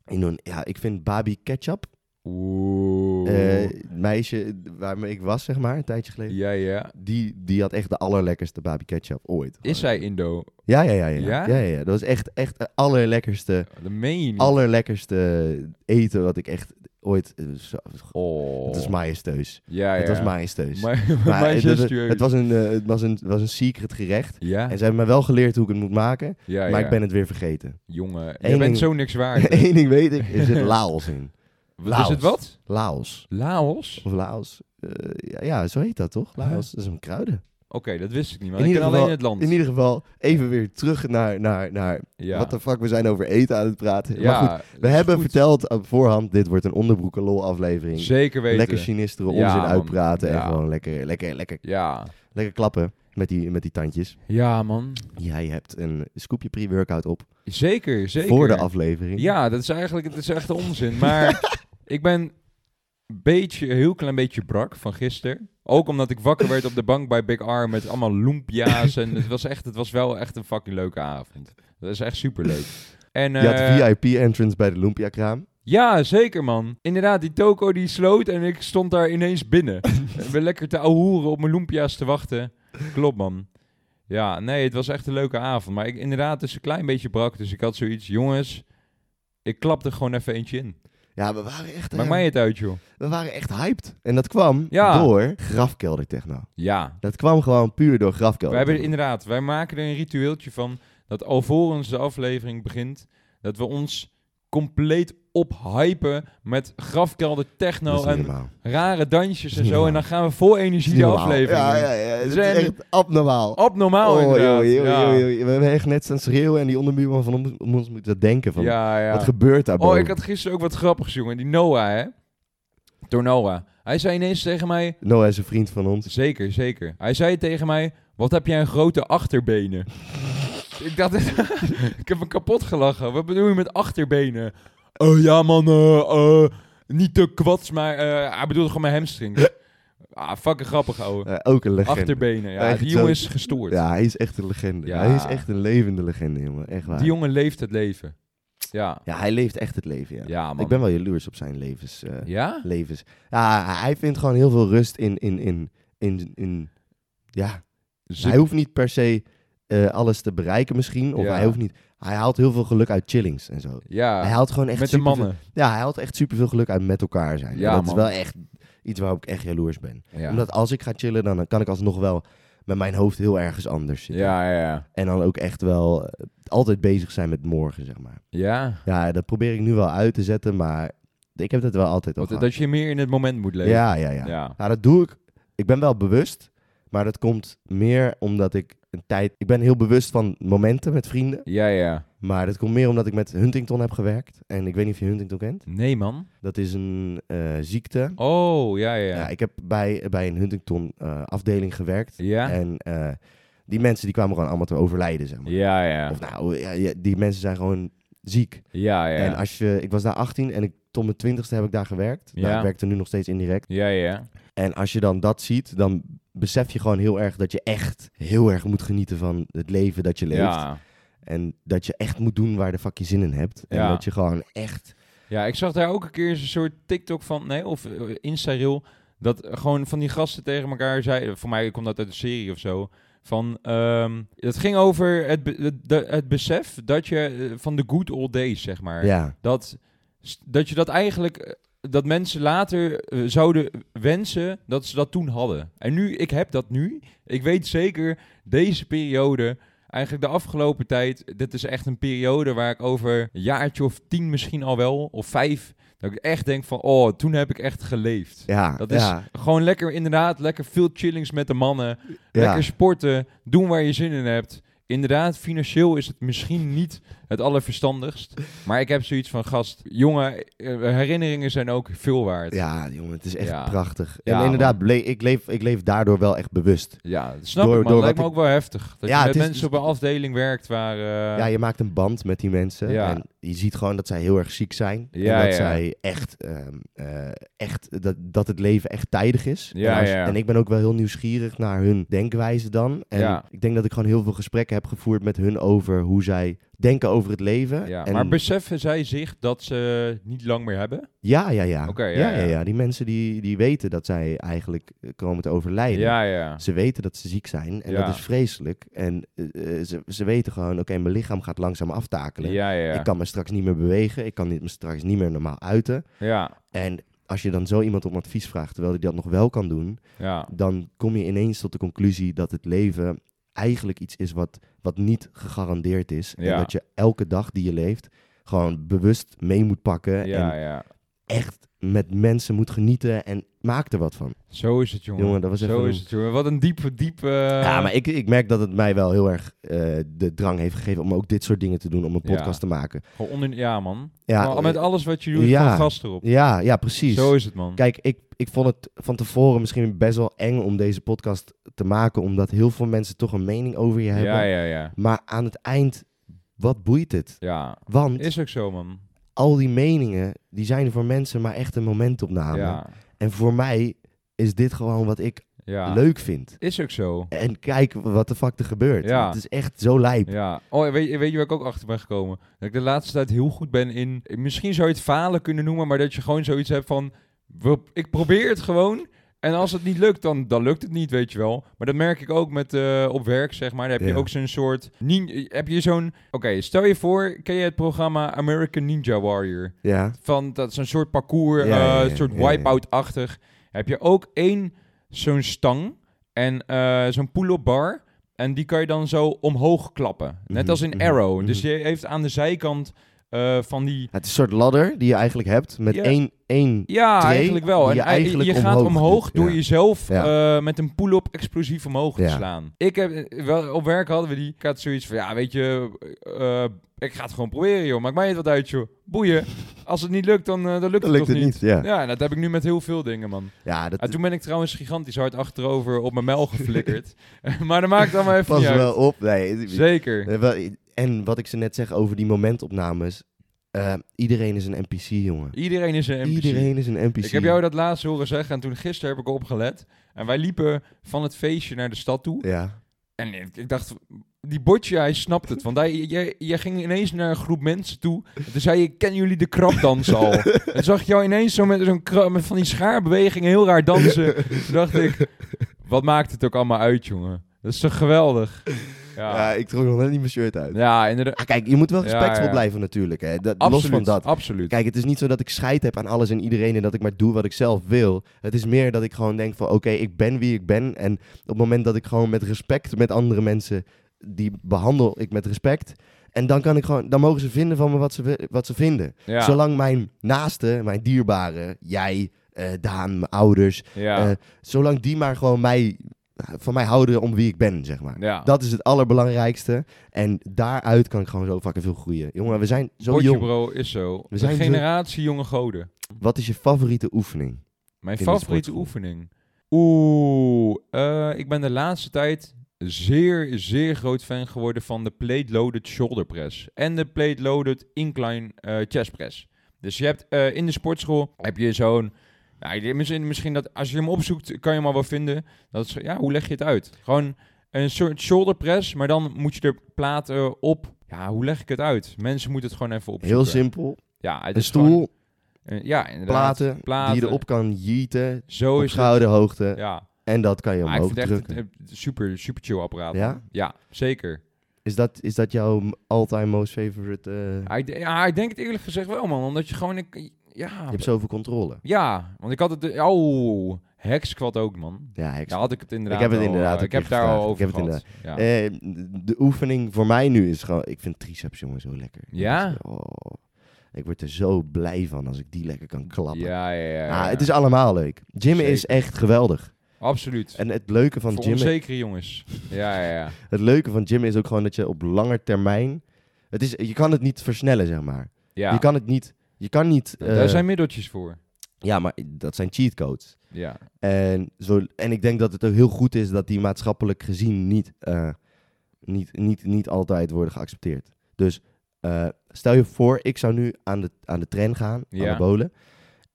Indone- ja, ik vind Babi Ketchup,
Oeh.
eh, het meisje waarmee ik was, zeg maar, een tijdje geleden.
ja, ja.
Die, die had echt de allerlekkerste Babi Ketchup ooit.
Is zij Indo?
Ja, ja, ja. Ja, ja?
Ja?
ja, ja. Dat was echt, echt de allerlekkerste,
Dat meen je niet.
allerlekkerste eten wat ik echt ooit... eh, zo-
oh.
Het is majesteus.
Ja, ja.
Het was majesteus.
Maar,
Maar
mijn
het, het-
gestuurd.
het was een, eh, het was een, het was een secret gerecht.
Ja,
En ze hebben mij wel geleerd hoe ik het moet maken,
ja, ja.
maar ik ben het weer vergeten.
Jongen, je
Eén
bent
ding-
zo niks waard. hè.
Eén ding weet ik, er zit Laos in.
Wat is het wat?
Laos.
Laos?
Of Laos. Eh, ja, ja, zo heet dat toch? Laos. Dat is een kruiden.
Oké, dat wist Nou, ik niet, maar
In
ik
ieder
ken alleen
geval-
het land.
In ieder geval, even weer terug naar, naar, naar
ja.
wat de fuck we zijn over eten aan het praten.
ja,
maar goed,
dat
we
is
hebben
goed.
verteld op voorhand, dit wordt een onderbroeken lol aflevering.
Zeker weten.
Lekker sinisteren, onzin
Ja, man.
uitpraten en
Ja.
gewoon lekker, lekker, lekker,
ja.
lekker klappen met die, met die tandjes.
ja, man.
Jij hebt een scoopje pre-workout op
Zeker, zeker.
voor de aflevering.
Ja, dat is eigenlijk het is echt onzin. Maar ik ben een beetje, een heel klein beetje brak van gisteren. Ook omdat ik wakker werd op de bank bij Big R met allemaal loempia's. En het was, echt, het was wel echt een fucking leuke avond. Dat is echt superleuk. En,
Je had
eh,
VIP-entrance bij de Lumpia-kraam.
ja, zeker man. Inderdaad, die toko die sloot en ik stond daar ineens binnen. Ik ben lekker te ahoeren op mijn loempia's te wachten. Klopt man. Ja, nee, het was echt een leuke avond. Maar ik, inderdaad, het is een klein beetje brak. Dus ik had zoiets, jongens, ik klap er gewoon even eentje in.
Ja, we waren echt,
Maakt
eh,
mij het uit, joh.
we waren echt hyped. En dat kwam
Ja.
door grafkeldertechno.
Ja.
Dat kwam gewoon puur door
We
grafkelder.
hebben inderdaad, wij maken er een ritueeltje van dat alvorens de aflevering begint, dat we ons compleet ophypen met grafkelder
Dat
techno
is niet
en
normaal.
rare dansjes
Dat is
en
niet
zo. En dan gaan we vol
Dat
energie
is
de
niet normaal.
aflevering.
Ja,
in.
ja, ja. Dat
Zijn-
is echt abnormaal.
Abnormaal
Oh,
inderdaad.
joh, joh,
ja.
joh, joh. We hebben echt net staan schreeuwen en die onderbuurman van om, om ons moet dat denken van,
ja, ja.
wat gebeurt daar
Oh,
boven?
ik had gisteren ook wat grappigs, jongen. Die Noah, hè. Door Noah. Hij zei ineens tegen mij,
Noah is een vriend van ons.
Zeker, zeker. Hij zei tegen mij: Wat heb jij een grote achterbenen? ik dacht, ik heb hem kapot gelachen. Wat bedoel je met achterbenen? Oh ja, man, eh, eh, niet te kwats, maar eh, hij bedoelde gewoon mijn hamstrings. ah, fucking grappig, ouwe.
Eh, ook een legende.
Achterbenen, ja.
Echt
Die
zo-
jongen is gestoord.
Ja, hij is echt een legende.
Ja.
Hij is echt een levende legende, jongen. Echt waar.
Die jongen leeft het leven. Ja,
Ja, hij leeft echt het leven, ja.
ja, man.
ik ben wel jaloers op zijn levens... eh,
Ja?
levens. Ja, hij vindt gewoon heel veel rust in. in, in, in, in ja,
Ze-
hij hoeft niet per se eh, alles te bereiken, misschien. Of
Ja.
hij hoeft niet. Hij haalt heel veel geluk uit chillings en zo. hij
ja,
haalt gewoon echt.
met de
superveel-
mannen.
ja, hij haalt echt superveel geluk uit met elkaar zijn.
Ja,
En dat
man.
is wel echt iets waarop ik echt jaloers ben.
Ja.
Omdat als ik ga chillen, dan kan ik alsnog wel met mijn hoofd heel ergens anders zitten.
ja, ja, ja.
En dan ook echt wel eh, altijd bezig zijn met morgen, zeg maar.
Ja,
Ja, dat probeer ik nu wel uit te zetten, maar ik heb dat wel altijd al
want,
gehad.
dat je meer in het moment moet leven.
ja, ja, ja.
ja.
Ja, dat doe ik. Ik ben wel bewust, Maar dat komt meer omdat ik een tijd... Ik ben heel bewust van momenten met vrienden.
Ja, ja.
Maar dat komt meer omdat ik met Huntington heb gewerkt. En ik weet niet of je Huntington kent.
Nee, man.
Dat is een eh, ziekte.
Oh, ja, ja.
Ja,
Ja?
ik heb bij, bij een Huntington eh, afdeling gewerkt.
Ja,
En eh, die mensen die kwamen gewoon allemaal te overlijden, zeg maar.
ja. Ja,
Of nou, ja, ja, die mensen zijn gewoon ziek.
ja.
En
Ja,
als je, ik was daar 18 en ik, tot mijn 20ste heb ik daar gewerkt. Nou,
Ja.
ik werkte nu nog steeds indirect.
ja. ja.
En als je dan dat ziet, dan besef je gewoon heel erg dat je echt heel erg moet genieten van het leven dat je leeft.
Ja.
En dat je echt moet doen waar de fuck je zin in hebt. En
Ja.
dat je gewoon echt...
Ja, ik zag daar ook een keer een soort TikTok van, nee, of eh, Insta-reel, dat gewoon van die gasten tegen elkaar zeiden, voor mij komt dat uit een serie of zo, van, ehm het ging over het, be- het, de- het besef dat je, eh, van de good old days, zeg maar,
Ja,
dat, s- dat je dat eigenlijk, eh, dat mensen later eh, zouden wensen dat ze dat toen hadden. En nu, ik heb dat nu, ik weet zeker, deze periode... Eigenlijk de afgelopen tijd, dit is echt een periode waar ik over een jaartje of tien misschien al wel, of vijf, dat ik echt denk van, oh, toen heb ik echt geleefd.
ja,
Dat is
ja,
gewoon lekker, inderdaad, lekker veel chillings met de mannen,
ja.
lekker sporten, doen waar je zin in hebt. Inderdaad, financieel is het misschien niet het allerverstandigst, maar ik heb zoiets van, gast, jongen, eh, herinneringen zijn ook veel waard. Ja,
Ja, jongen, het is echt
Ja.
prachtig.
Ja,
en inderdaad, le- ik, leef, ik leef daardoor wel echt bewust.
snap
Door-
ik, maar
door
het lijkt me
wat
ook wel heftig. Dat
Ja,
je met
het is-
mensen op een afdeling werkt waar... eh,
Ja, je maakt een band met die mensen.
Ja.
En je ziet gewoon dat zij heel erg ziek zijn.
Ja,
en dat
ja.
zij echt, ehm, eh, echt dat, dat het leven echt tijdig is.
Ja,
en, als-
ja.
en ik ben ook wel heel nieuwsgierig naar hun denkwijze dan. En
Ja.
ik denk dat ik gewoon heel veel gesprekken heb gevoerd met hun over hoe zij denken over het leven.
Ja,
en,
maar beseffen zij zich dat ze niet lang meer hebben?
ja, ja, ja.
Oké, ja,
ja,
ja.
Die mensen die, die weten dat zij eigenlijk eh, komen te overlijden.
Ja, ja.
Ze weten dat ze ziek zijn en
Ja.
dat is vreselijk. En eh, eh, ze, ze weten gewoon, oké, mijn lichaam gaat langzaam aftakelen.
Ja, ja.
Ik kan me straks niet meer bewegen. Ik kan niet- me straks niet meer normaal uiten.
Ja,
En als je dan zo iemand om advies vraagt, terwijl hij dat nog wel kan doen,
ja.
dan kom je ineens tot de conclusie dat het leven eigenlijk iets is wat, wat niet gegarandeerd is.
Ja.
En dat je elke dag die je leeft gewoon bewust mee moet pakken.
Ja,
Eh, En
ja.
echt met mensen moet genieten en maak er wat van.
Zo is het, jongen.
Jongen, dat was even
Zo
een-
is het, jongen. Wat een diepe, diepe...
ja, maar ik, ik merk dat het mij wel heel erg eh, de drang heeft gegeven om ook dit soort dingen te doen, om een
Ja.
podcast te maken.
Gewoon onder... Ja, man.
Ja, eh,
Maar met alles wat je doet,
ja.
gewoon gast erop.
ja, ja, precies.
Zo is het, man.
Kijk, ik, ik vond het van tevoren misschien best wel eng om deze podcast te maken, omdat heel veel mensen toch een mening over je hebben.
ja, ja, ja.
Maar aan het eind, wat boeit het?
Ja.
Want
Is ook zo, man.
al die meningen, die zijn voor mensen maar echt een momentopname.
Ja.
En voor mij is dit gewoon wat ik
Ja.
leuk vind.
Is ook zo.
En kijk wat de fuck er gebeurt.
Ja.
Het is echt zo lijp.
Ja. Oh, weet, je- weet je waar ik ook achter ben gekomen? Dat ik de laatste tijd heel goed ben in... Misschien zou je het falen kunnen noemen, maar dat je gewoon zoiets hebt van... we- ik probeer het gewoon. En als het niet lukt, dan, dan lukt het niet, weet je wel. Maar dat merk ik ook met eh, op werk, zeg maar. Dan heb je
Ja.
ook zo'n soort... nin- heb je zo'n... Oké, stel je voor, ken je het programma American Ninja Warrior?
Ja.
Van dat zo'n soort parcours,
Ja, ja,
eh,
ja,
een soort
ja, ja.
wipeout-achtig. Heb je ook één zo'n stang en eh, zo'n pull-up bar. En die kan je dan zo omhoog klappen. Net
Mhm,
als in
mhm,
Arrow.
mhm.
Dus je heeft aan de zijkant eh, van die...
Het is een soort ladder die je eigenlijk hebt met
Ja.
één, één
Ja,
Twee
eigenlijk wel.
die
En
je
ei-
eigenlijk
je gaat
omhoog
omhoog
doet,
door
ja.
jezelf
Ja.
eh, met een pull-up explosief omhoog te
Ja.
slaan. Ik heb, eh, wel, op werk hadden we die. Ik had zoiets van, ja, weet je, eh, ik ga het gewoon proberen, joh. Maakt mij het wat uit, joh. Boeien. Als het niet lukt, dan, eh, dan lukt
Dan
het
lukt
toch
het niet. Ja.
Ja, en dat heb ik nu met heel veel dingen, man.
ja, dat
En toen ben ik trouwens gigantisch hard achterover op mijn mel geflikkerd. maar dat maakt allemaal even
pas
niet uit.
wel op. Nee,
Zeker.
Eh, wel, En wat ik ze net zeg over die momentopnames. eh, iedereen is een NPC, jongen.
Iedereen is een NPC.
Iedereen is een NPC.
Ik heb jou dat laatst horen zeggen en toen gisteren heb ik opgelet. En wij liepen van het feestje naar de stad toe.
Ja,
En ik, ik dacht, die botje, hij snapt het. Want hij, jij, jij ging ineens naar een groep mensen toe. En toen zei je, kennen jullie de krapdans al? en toen zag ik jou ineens zo met, zo'n kra- met van die schaarbewegingen heel raar dansen. Toen dacht ik, wat maakt het ook allemaal uit, jongen? Dat is toch geweldig?
ja.
Ja,
ik trok nog net niet mijn shirt uit.
ja inderdaad.
Ah, kijk, je moet wel respectvol
Ja, ja.
blijven natuurlijk. Hè. Dat,
Absoluut,
los van dat.
absoluut.
Kijk, het is niet zo dat ik scheid heb aan alles en iedereen en dat ik maar doe wat ik zelf wil. Het is meer dat ik gewoon denk van oké, ik ben wie ik ben. En op het moment dat ik gewoon met respect met andere mensen, die behandel ik met respect. En dan kan ik gewoon, dan mogen ze vinden van me wat ze, wi- wat ze vinden.
ja,
Zolang mijn naaste, mijn dierbare, jij, eh, Daan, mijn ouders,
ja.
eh, zolang die maar gewoon mij van mij houden om wie ik ben, zeg maar.
Ja.
Dat is het allerbelangrijkste. En daaruit kan ik gewoon zo fucking veel groeien. Jongen, we zijn zo
Potje
jong.
bro is zo.
zijn
We zijn
zo-
generatie jonge goden.
Wat is je favoriete oefening?
Mijn
In de
favoriete
sportschool.
oefening. Oeh, eh, ik ben de laatste tijd zeer, zeer groot fan geworden van de plate loaded shoulder press. En de plate loaded incline eh, chest press. Dus je hebt eh, in de sportschool heb je zo'n. Nou, je- misschien, misschien dat als je hem opzoekt, kan je hem al wel vinden. Dat is, ja, hoe leg je het uit? Gewoon een soort shoulder press, maar dan moet je er platen op. Ja, hoe leg ik het uit? Mensen moeten het gewoon even opzoeken.
Heel simpel.
Ja, het
Een
is gewoon-
stoel,
eh, ja, inderdaad.
platen,
platen.
die je erop kan jieten.
Zo
Op
is het.
schouderhoogte.
Ja.
En dat kan je
Maar ik
omhoog
vind het echt
drukken.
een, een super, super chill apparaat.
Ja?
Ja, zeker.
Is dat, is dat jouw m- all-time most favorite? eh,
Ja ik, de- ja, ik denk het eerlijk gezegd wel, man. Omdat je gewoon... Ik,
Je
ja,
hebt zoveel controle.
ja, want ik had het... Oh, hekskvat ook, man.
Ja, ik,
Ja, had ik het inderdaad
Ik heb het
al,
inderdaad
eh,
een
Ik heb
keer
daar al
gevraagd.
over
Ik heb het
gehad. Ja.
Eh, de oefening voor mij nu is gewoon... Ik vind triceps, jongen, zo lekker.
Ja?
Dat is- oh. ik word er zo blij van als ik die lekker kan klappen.
ja, ja, ja, ja.
Ah, het is allemaal leuk. Gym is
Zeker.
echt geweldig.
Absoluut.
En het leuke van
Voor
gym
onzekere jongens. Ja, ja, ja.
Het leuke van gym is ook gewoon dat je op lange termijn... Het is, je kan het niet versnellen, zeg maar.
ja.
Je kan het niet... Je kan niet... eh,
Daar zijn middeltjes voor.
Ja, maar dat zijn cheatcodes.
Ja.
En, zo, en ik denk dat het ook heel goed is dat die maatschappelijk gezien niet, eh, niet, niet, niet altijd worden geaccepteerd. Dus eh, stel je voor, ik zou nu aan de, aan de trend gaan, aan
Ja.
de bolen.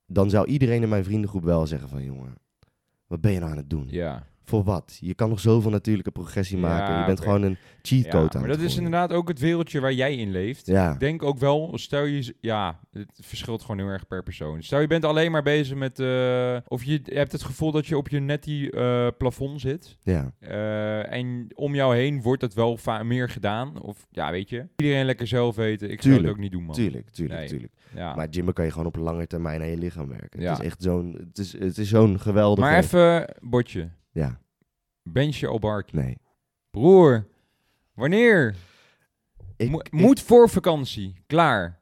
Dan zou iedereen in mijn vriendengroep wel zeggen van, jongen, wat ben je nou aan het doen?
Ja.
Voor wat? Je kan nog zoveel natuurlijke progressie
Ja,
maken. Je bent
oké.
gewoon een cheatcode
ja.
aan het
Maar dat is
gooien.
inderdaad ook het wereldje waar jij in leeft.
Ja,
Ik denk ook wel, stel je, ja, het verschilt gewoon heel erg per persoon. Stel je bent alleen maar bezig met, eh, of je hebt het gevoel dat je op je netty eh plafond zit.
ja.
Eh, en om jou heen wordt dat wel va- meer gedaan. Of ja, weet je, iedereen lekker zelf weten. Ik zou
Tuurlijk,
het ook niet doen, man.
tuurlijk, tuurlijk,
Nee.
tuurlijk.
Ja. Maar,
Maar gymmen kan je gewoon op lange termijn aan je lichaam werken.
Ja.
Het is echt zo'n, het is, het is zo'n geweldige...
even, Botje,
Ja,
Benchje Albarki.
nee.
Broer, wanneer?
Ik-
Mo-
ik-
moet voor vakantie, klaar.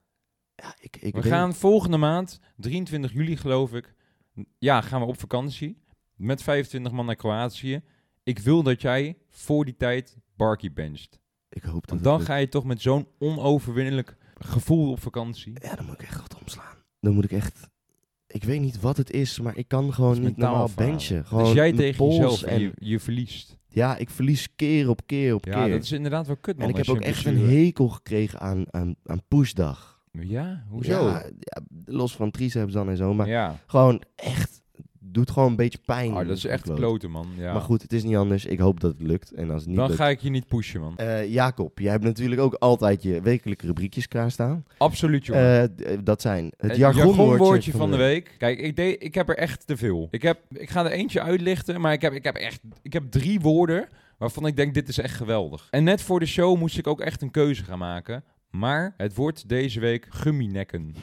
Ja, ik, ik
We
weet-
gaan volgende maand, 23 juli geloof ik, n- ja, gaan we op vakantie met 25 man naar Kroatië. Ik wil dat jij voor die tijd Barkie bencht.
Ik hoop dat
Want
het
dan
lukt.
ga je toch met zo'n onoverwinnelijk gevoel op vakantie.
Ja, dan moet ik echt wat omslaan. Dan moet ik echt... Ik weet niet wat het is, maar ik kan gewoon
Dat is
niet
mentaal
normaal
falen.
benchen. Gewoon
Dus jij
mijn
tegen
pols
jezelf en
En,
je, je verliest.
Ja, ik verlies keer op keer op
Ja,
keer.
dat is inderdaad wel kut, man.
en ik heb
als
ook
je
echt een
blessure-
hekel gekregen aan, aan, aan pushdag.
Ja, hoezo?
Ja, ja, los van triceps dan en zo. Maar
ja.
gewoon echt... Doet gewoon een beetje pijn.
Oh, dat is echt
Kloot.
kloten, man. Ja.
Maar goed, het is niet anders. Ik hoop dat het lukt. En als het niet
dan
lukt...
ga ik je niet pushen, man.
Eh, Jacob, jij hebt natuurlijk ook altijd je wekelijke rubriekjes klaarstaan.
Absoluut, jongen.
Eh d- dat zijn het
Het
jargonwoordje,
jargonwoordje van de week. Kijk, ik, deed, ik heb er echt te veel. Ik, heb, ik ga er eentje uitlichten, maar ik heb, ik heb echt ik heb drie woorden waarvan ik denk, dit is echt geweldig. En net voor de show moest ik ook echt een keuze gaan maken. Maar het wordt deze week gumminekken.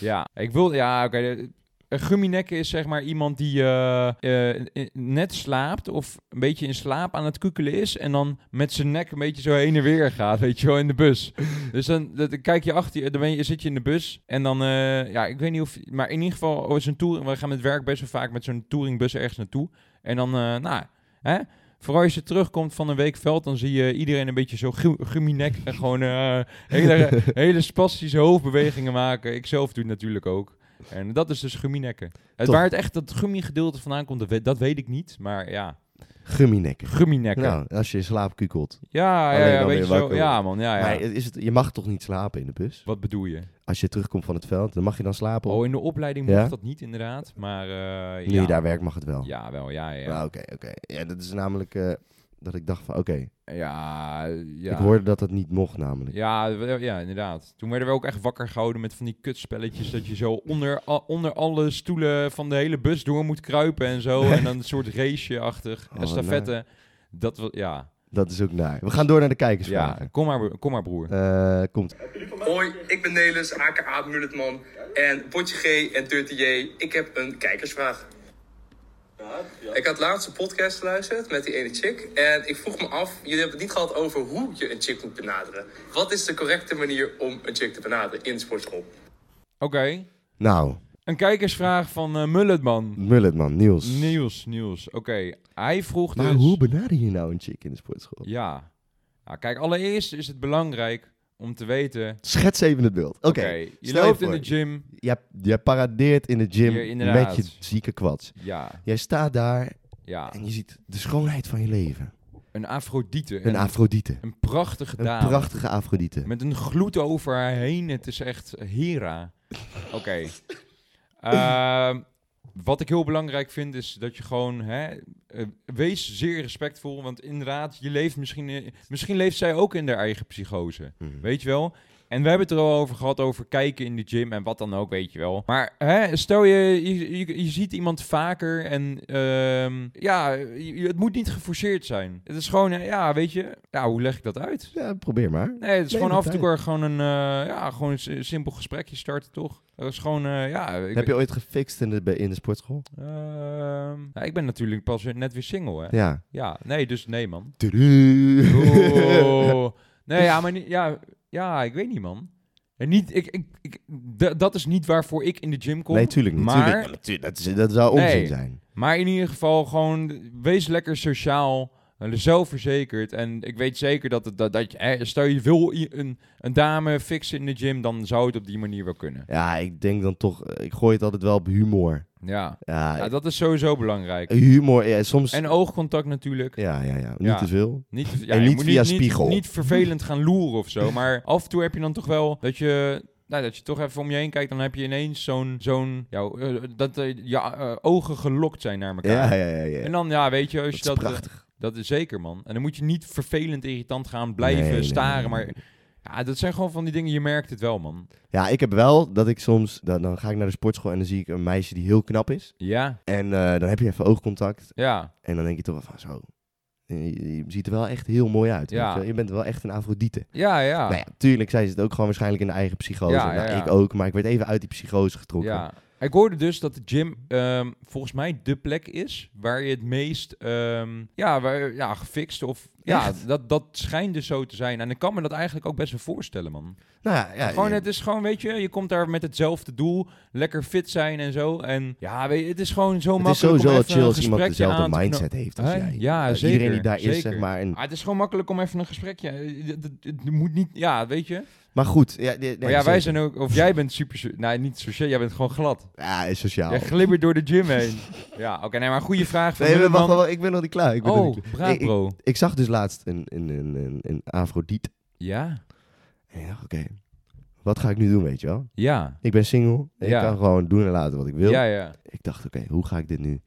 ja, ik wil... Ja, oké. eh, een gumminekken is zeg maar iemand die eh, eh, eh, net slaapt of een beetje in slaap aan het kukelen is. En dan met zijn nek een beetje zo heen en weer gaat, weet je wel, in de bus. Dus dan, dat- dan kijk je achter je, dan ben je, zit je in de bus. En dan, eh, ja, ik weet niet of... Maar in ieder geval, oh, is een tour, we gaan met werk best wel vaak met zo'n touringbus ergens naartoe. En dan, eh, nou, hè... Vooral als je terugkomt van een week veld, dan zie je iedereen een beetje zo gu- gumminek en gewoon eh, hele, hele spastische hoofdbewegingen maken. Ik zelf doe het natuurlijk ook. En dat is dus gumminekken. Het,
Toch.
waar het echt dat gummi-gedeelte vandaan komt, dat weet, dat weet ik niet. Maar ja,
Gumminekken.
gumminekken.
Nou, als je in slaap kukelt.
ja, ja,
Alleen
ja,
dan
weet
weer
je zo.
wakker
Ja, man, Ah, ja, ja.
Maar is het, je mag toch niet slapen in de bus?
Wat bedoel je?
Als je terugkomt van het veld, dan mag je dan slapen?
Oh, in de opleiding
Ja?
mocht dat niet inderdaad, maar eh,
nu
ja.
je daar werkt, mag het wel.
Ja, wel, ja, ja.
Nou, Oké, oké. Ja, dat is namelijk eh, dat ik dacht van, oké.
Ja, ja.
Ik hoorde dat dat niet mocht namelijk.
Ja, w- ja, inderdaad. Toen werden we ook echt wakker gehouden met van die kutspelletjes. Dat je zo onder, a- onder alle stoelen van de hele bus door moet kruipen en zo. En dan een soort raceje-achtig.
Oh,
en stafette. Dat was, ja.
Dat is ook naar. We gaan door naar de
ja.
kijkersvragen.
Kom, maar, bro- kom maar, broer.
Eh, komt.
Hoi, ik ben Nelis, aka Mulletman. En Potje G en Dirty J, ik heb een kijkersvraag. Ik had laatst een podcast geluisterd met die ene chick. En ik vroeg me af, jullie hebben het niet gehad over hoe je een chick moet benaderen. Wat is de correcte manier om een chick te benaderen in de sportschool?
Oké.
Nou,
Een kijkersvraag van eh, Mulletman.
Mullet, man. Niels.
Niels, Niels. Oké, hij vroeg
Maar
dus...
hoe benader je nou een chick in de sportschool?
Ja. Nou, kijk, allereerst is het belangrijk om te weten...
Schets even het beeld. Oké.
Oké, je
stel je
loopt in
voor.
de gym.
Jij, jij paradeert in de gym
Ja, inderdaad.
met je zieke kwats.
Ja,
Jij staat daar
ja.
en je ziet de schoonheid van je leven.
Een Afrodite.
Een Afrodite.
een prachtige
Een
dame.
prachtige Afrodite.
Met een gloed over haar heen. Het is echt Hera. Oké. Ehm, wat ik heel belangrijk vind is dat je gewoon... Hè, eh, wees zeer respectvol. Want inderdaad, je leeft misschien... in- misschien leeft zij ook in haar eigen psychose.
Mhm.
Weet je wel? En we hebben het er al over gehad, over kijken in de gym en wat dan ook, weet je wel. Maar hè, stel je, je, je, je ziet iemand vaker en ehm, ja, je- je- het moet niet geforceerd zijn. Het is gewoon, eh, ja, weet je, ja, hoe leg ik dat uit?
Ja, probeer maar.
Nee, het is
Nee,
gewoon af en toe
partij.
maar gewoon een, eh, ja, gewoon een si- simpel gesprekje starten, toch? Dat is gewoon, eh, ja... Ik,
Heb je ooit gefixt in de, bij- in de sportschool?
Ehm, nou, ik ben natuurlijk pas weer- net weer single, hè? Ja,
Ja.
nee, dus nee, man.
Tudu.
Oh. nee, ja, maar niet, ja, ja, ik weet niet, man. En niet, ik, ik, ik- d- dat is niet waarvoor ik in de gym kom.
Nee, tuurlijk niet.
Maar-
Tuurlijk, tu- dat, is- dat zou onzin
Nee.
zijn.
Maar in ieder geval gewoon wees lekker sociaal, eh, zelfverzekerd. En ik weet zeker dat, het, dat, dat je, eh, stel je wil i- een, een dame fixen in de gym, dan zou het op die manier wel kunnen.
Ja, ik denk dan toch... eh, Ik gooi het altijd wel op humor.
Ja,
Ja,
ja dat is sowieso belangrijk.
humor. Ja, soms...
En oogcontact natuurlijk.
dus- ja, ja, ja. Niet
Ja.
te veel.
Niet, te- ja,
En
je
niet
moet
via
niet, niet-
spiegel.
Niet, vervelend gaan loeren of zo. Maar af en toe heb je dan toch wel dat je... Nou, dat je toch even om je heen kijkt, dan heb je ineens zo'n... zo'n ja, eh, dat eh, je eh, ogen gelokt zijn naar elkaar.
Ja, ja, ja. ja.
En dan, ja, weet je, als
dat
je
is
dat... eh,
prachtig.
Dat is zeker, man. En dan moet je niet vervelend irritant gaan blijven
Nee, nee,
staren.
nee,
Maar ja, dat zijn gewoon van die dingen, je merkt het wel, man.
Ja, ik heb wel dat ik soms... Dan, dan ga ik naar de sportschool en dan zie ik een meisje die heel knap is.
Ja,
En eh, dan heb je even oogcontact.
ja,
En dan denk je toch wel van zo... Je, je ziet er wel echt heel mooi uit.
Ja.
weet je wel. Je bent wel echt een Afrodite.
ja, ja.
Nou ja, tuurlijk, zij zit ook gewoon waarschijnlijk in de eigen psychose.
Ja, ja,
Nou,
ja.
ik ook, maar ik werd even uit die psychose getrokken.
ja. Ik hoorde dus dat de gym ehm, volgens mij de plek is waar je het meest ehm, ja, waar, ja, gefixt of... Ja, dat, dat schijnt dus zo te zijn. En ik kan me dat eigenlijk ook best wel voorstellen, man.
Nou ja, ja,
gewoon,
ja.
het is gewoon, weet je, je komt daar met hetzelfde doel. Lekker fit zijn en zo. En ja, weet je, het is gewoon
het
zo
is
makkelijk
sowieso
om
wel
even
chill
een
als iemand
gesprekje aan
dezelfde
te kno-
mindset heeft als
Hè?
jij.
Ja,
Eh,
zeker,
Iedereen die daar is,
zeker.
zeg maar. En,
Ah, het is gewoon makkelijk om even een gesprekje. eh, d- d- Het moet niet. Ja, weet je.
maar goed. Ja, nee,
maar
nee,
ja, wij
zeker.
zijn ook. Of jij bent super. so- Nou, niet sociaal. Jij bent gewoon glad.
Ja, is sociaal.
Jij glibbert door de gym heen. ja, oké. nee, maar goede vraag. Van
Nou. Nee, maar wacht,
Mulderman.
wel, ik ben nog niet klaar. Ik ben nog
Oh,
niet klaar.
braaf,
Ik- ik,
bro.
ik zag dus laatst een, een, een, een, een Afrodiet.
Ja,
En ik dacht, oké, wat ga ik nu doen, weet je wel?
ja.
Ik ben single. Ik
Ja.
kan gewoon doen en laten wat ik wil.
Ja, ja,
Ik dacht, oké, hoe ga ik dit nu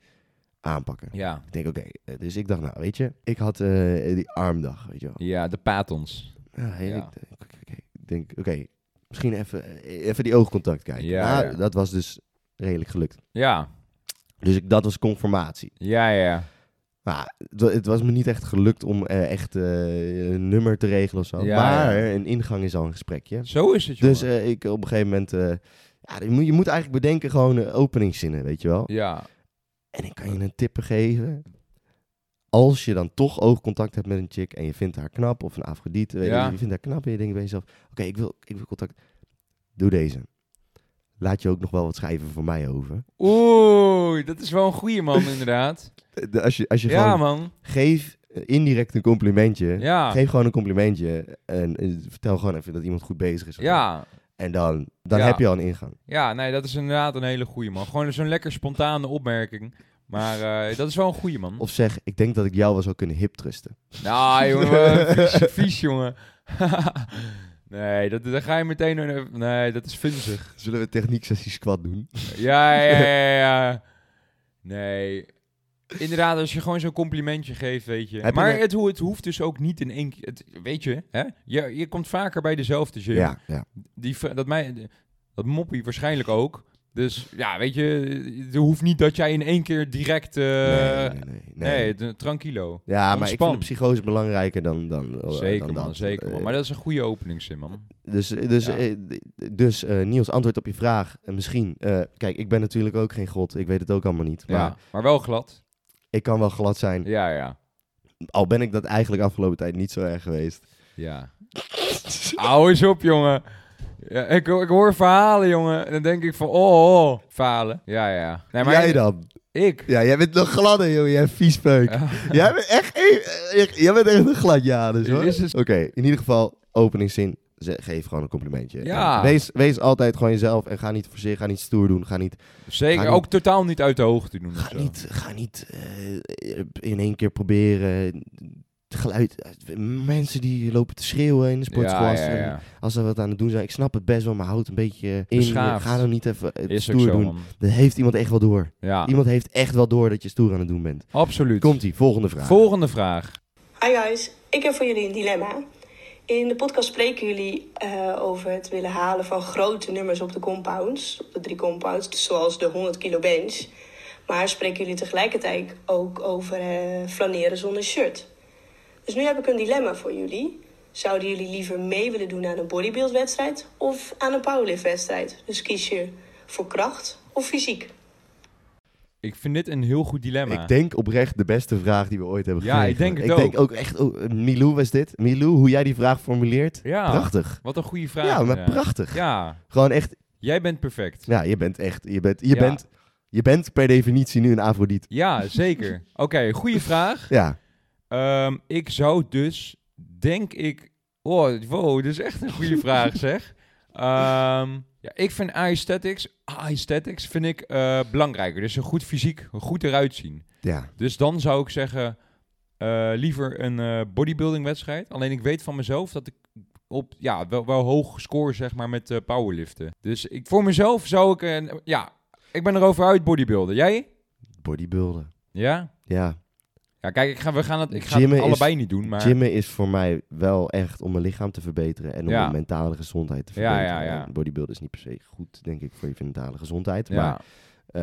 aanpakken?
ja.
Ik denk, oké, eh, dus ik dacht, nou, weet je, ik had eh, die armdag, weet je wel.
Ja, de patons.
Ja, hey,
Ja.
Ik, ik- ik- ik denk, oké, misschien even, eh, even die oogcontact kijken.
Ja,
Nou,
ja.
Dat was dus redelijk gelukt.
Ja,
Dus ik, dat was conformatie.
ja, ja.
Maar het, wa- het was me niet echt gelukt om eh, echt eh, een nummer te regelen of zo.
Ja,
maar een ingang is al een gesprekje.
Zo is het, jongen.
Dus eh, ik op een gegeven moment... eh, ja, je, moet, je moet eigenlijk bedenken gewoon eh, openingszinnen, weet je wel.
ja,
En ik kan je een tip geven. Als je dan toch oogcontact hebt met een chick en je vindt haar knap of een afrodite, weet je,
Ja.
je vindt haar knap en je denkt bij jezelf, oké, ik, wil, ik wil contact. Doe deze. Laat je ook nog wel wat schrijven voor mij over.
oeh, dat is wel een goede man, inderdaad.
De- Als je, eh, als je
Ja,
gewoon
man.
geef eh, indirect een complimentje.
Ja.
Geef gewoon een complimentje en eh, vertel gewoon even dat iemand goed bezig is.
Ja,
En dan, dan
Ja.
heb je al een ingang.
Ja, nee, dat is inderdaad een hele goeie man. Gewoon zo'n lekker spontane opmerking. Maar eh, dat is wel een goeie man.
Of zeg, ik denk dat ik jou wel zou kunnen hip trusten.
Nou, jongen, vies, vies, jongen. nee, dat, dan ga je meteen... een- Nee, dat is vunzig.
Zullen we techniek sessie squat doen?
Ja, ja, ja, ja. Nee. Inderdaad, als je gewoon zo'n complimentje geeft, weet je.
Heb je
maar
een-
het, ho- het hoeft dus ook niet in één keer... het- Weet je, hè? Je, je komt vaker bij dezelfde gym.
Ja, ja.
die, v- dat, mij, dat moppie waarschijnlijk ook. Dus ja, weet je, het hoeft niet dat jij in één keer direct... eh,
nee,
nee,
nee, nee,
de- tranquilo.
Ja, maar ik
Ontspan.
vind de psychose belangrijker dan, dan, dan
zeker
dat.
man, zeker man.
Eh,
Maar dat is een goede openingszin, man.
Dus, dus,
Ja.
eh, d- dus eh, Niels, antwoord op je vraag. En misschien, eh, kijk, ik ben natuurlijk ook geen god. Ik weet het ook allemaal niet. Maar
ja, maar wel glad.
ik kan wel glad zijn.
Ja, ja,
Al ben ik dat eigenlijk afgelopen tijd niet zo erg geweest.
ja. Hou eens op, jongen. Ja, ik, ik hoor verhalen, jongen. En dan denk ik van, oh, oh, falen. Ja, ja. Nee, maar
Jij dan?
Ik.
Ja, jij bent nog gladder, joh. Jij viespeuk. Jij bent echt, eh, echt- jij bent echt een gladjanus, hoor.
Dit is dus-
Oké, in ieder geval, openingszin. Ze- Geef gewoon een complimentje.
Ja.
En Wees, wees altijd gewoon jezelf en ga niet forceren, ga niet stoer doen. Ga niet,
Zeker,
Ga niet-
ook totaal niet uit de hoogte doen. of
ga
zo.
niet, ga niet eh, in één keer proberen het geluid. Mensen die lopen te schreeuwen in de sportsklas.
Ja, ja, ja.
Als ze wat aan het doen zijn. Ik snap het best wel, maar houd een beetje in.
Beschaafd.
Ga dan niet even eh,
Is ook
stoer
zo,
doen.
man.
Dat heeft iemand echt wel door.
Ja,
Iemand heeft echt wel door dat je stoer aan het doen bent.
absoluut.
Komt ie, volgende vraag.
Volgende vraag.
Hi guys, ik heb voor jullie een dilemma. In de podcast spreken jullie eh, over het willen halen van grote nummers op de compounds, op de drie compounds, dus zoals de 100 kilo bench. Maar spreken jullie tegelijkertijd ook over eh, flaneren zonder shirt. Dus nu heb ik een dilemma voor jullie. Zouden jullie liever mee willen doen aan een bodybuildwedstrijd of aan een powerliftwedstrijd? Dus kies je voor kracht of fysiek?
Ik vind dit een heel goed dilemma.
Ik denk oprecht de beste vraag die we ooit hebben
Ja,
gekregen.
ik denk het
ik
ook.
denk ook echt, oh, Milou was dit. Milou, hoe jij die vraag formuleert.
Ja.
Prachtig.
Wat een goede vraag.
Ja, maar
inderdaad.
prachtig.
Ja,
Gewoon echt,
jij bent perfect.
ja, je bent echt, je bent, je
Ja.
bent, je bent per definitie nu een afrodiet.
Ja, zeker. Oké, goede vraag.
Ja,
Ehm, ik zou dus, denk ik... Oh, wow, dit is echt een goede vraag, zeg. Ehm, ja, ik vind aesthetics, aesthetics vind ik eh, belangrijker. Dus een goed fysiek, een goed eruit zien.
ja.
Dus dan zou ik zeggen, eh, liever een eh, bodybuilding wedstrijd. Alleen ik weet van mezelf dat ik op, ja, wel, wel hoog score zeg maar met eh, powerliften. Dus ik, voor mezelf zou ik, een, ja, ik ben erover uit bodybuilden. Jij?
Bodybuilden.
Ja?
Ja,
Ja, kijk, ik ga, we gaan het, ik ga
Gymmen
het
is-
allebei niet doen, maar...
gymmen is voor mij wel echt om mijn lichaam te verbeteren en om
Ja.
mijn mentale gezondheid te
Ja,
verbeteren.
ja, ja.
En Bodybuilden is niet per se goed, denk ik, voor je mentale gezondheid. Maar
ja.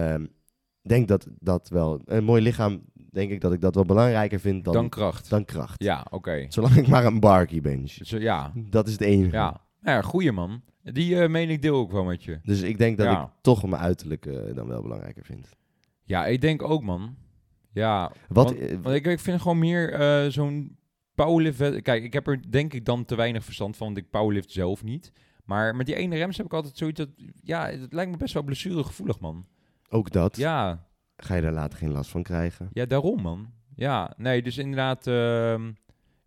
ehm, denk dat dat wel, een mooi lichaam, denk ik dat ik dat wel belangrijker vind
Dan,
dan,
kracht.
dan kracht.
Ja, oké.
Zolang ik maar een barkie bench.
Dus, eh, ja,
Dat is het enige.
ja. Nou ja, goeie man. Die eh, meen ik deel ook wel met je.
Dus ik denk dat
Ja.
ik toch mijn uiterlijk eh, dan wel belangrijker vind.
Ja, ik denk ook, man. Ja,
Wat,
Want-
eh,
Want ik, ik vind gewoon meer eh, zo'n powerlift... wed- Kijk, ik heb er denk ik dan te weinig verstand van, want ik powerlift zelf niet. Maar met die ene rems heb ik altijd zoiets dat... Ja, het lijkt me best wel blessuregevoelig, man.
ook dat.
Ja,
Ga je daar later geen last van krijgen?
ja, daarom, man. Ja, nee, dus inderdaad... ehm,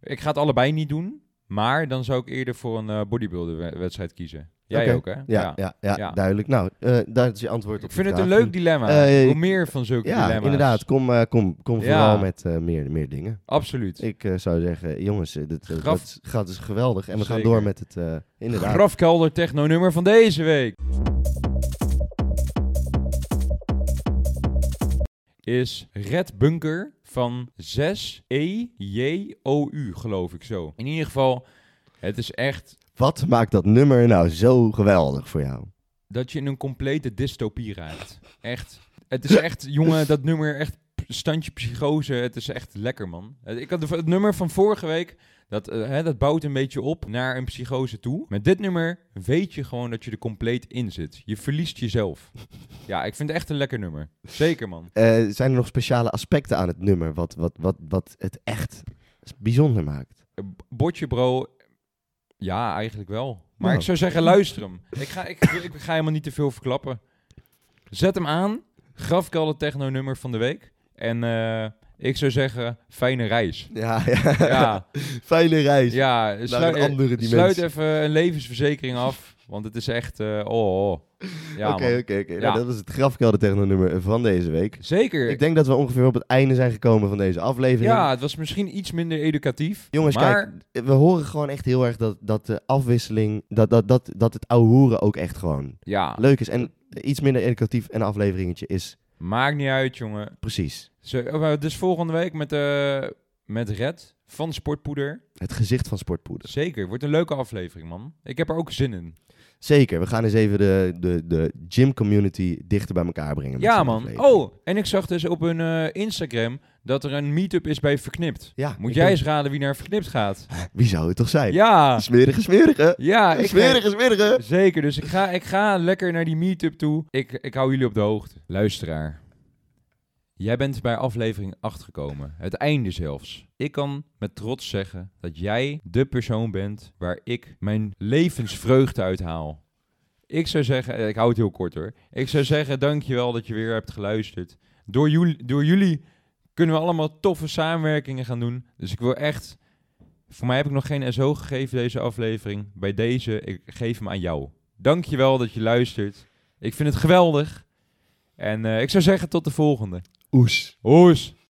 ik ga het allebei niet doen, maar dan zou ik eerder voor een eh bodybuilder-wedstrijd kiezen. Jij
Oké.
ook, hè?
Ja, ja. ja,
Ja.
duidelijk. Nou, eh daar is je antwoord op.
Ik vind
die
het een
vraag.
leuk dilemma.
Eh,
Hoe meer van zulke
Ja,
dilemma's.
inderdaad. Kom, eh, kom, kom
Ja.
vooral met eh, meer, meer dingen.
Absoluut.
Ik eh, zou zeggen, jongens, eh, dit eh,
Graf-
dat gaat dus geweldig. En we gaan
Zeker.
door met het, eh, inderdaad.
Grafkelder techno-nummer van deze week. Is Red Bunker van E 6EJOU, geloof ik zo. In ieder geval, het is echt
Wat maakt dat nummer nou zo geweldig voor jou?
dat je in een complete dystopie raakt. Echt. Het is echt, jongen, dat nummer echt p- standje psychose. Het is echt lekker, man. Eh, Ik had de v- het nummer van vorige week. Dat, eh, hè, dat bouwt een beetje op naar een psychose toe. Met dit nummer weet je gewoon dat je er compleet in zit. Je verliest jezelf. Ja, ik vind het echt een lekker nummer. Zeker, man.
Eh, zijn er nog speciale aspecten aan het nummer wat, wat, wat, wat het echt bijzonder maakt?
Eh, b- Botje, bro. Ja, eigenlijk wel. Maar
Nou.
ik zou zeggen, luister hem. Ik ga, ik, ik ga helemaal niet te veel verklappen. Zet hem aan. Grafkelder techno-nummer van de week. En eh, ik zou zeggen, fijne reis.
Ja, ja.
Ja,
Fijne reis.
ja sluit,
een andere
eh, sluit
dimensie.
even een levensverzekering af. Want het is echt... eh, oh, oh. Ja,
Oké,
man.
oké, oké.
Ja.
Nou, dat was het grafkelder technonummer van deze week.
Zeker.
Ik denk dat we ongeveer op het einde zijn gekomen van deze aflevering.
ja, het was misschien iets minder educatief.
Jongens,
maar
kijk, we horen gewoon echt heel erg dat, dat de afwisseling, dat, dat, dat, dat het ouwe hoeren ook echt gewoon
Ja,
leuk is. En iets minder educatief een afleveringetje is
maakt niet uit, jongen.
precies
Zo, eh, dus volgende week met, eh, met Red van Sportpoeder.
het gezicht van sportpoeder.
Zeker, wordt een leuke aflevering, man. Ik heb er ook zin in.
Zeker, we gaan eens even de, de, de gym community dichter bij elkaar brengen. met
ja,
zo'n
man.
aflevering.
Oh, en ik zag dus op hun eh, Instagram dat er een meetup is bij Verknipt.
Ja,
Moet
ik
jij
ben-
eens raden wie naar Verknipt gaat?
Wie zou het toch zijn?
Ja,
Smerige, smerige.
ja. Ik
smerige, smerige.
Zeker, dus ik ga, ik ga lekker naar die meetup toe. Ik, ik hou jullie op de hoogte. Luisteraar, jij bent bij aflevering 8 gekomen. Het einde zelfs. Ik kan met trots zeggen dat jij de persoon bent waar ik mijn levensvreugde uit haal. Ik zou zeggen, eh, ik hou het heel kort hoor. Ik zou zeggen, dankjewel dat je weer hebt geluisterd. Door jullie, door jullie kunnen we allemaal toffe samenwerkingen gaan doen. Dus ik wil echt, voor mij heb ik nog geen SO gegeven deze aflevering. Bij deze, ik geef hem aan jou. Dankjewel dat je luistert. Ik vind het geweldig. En eh, ik zou zeggen, tot de volgende.
Oes.
Hoes!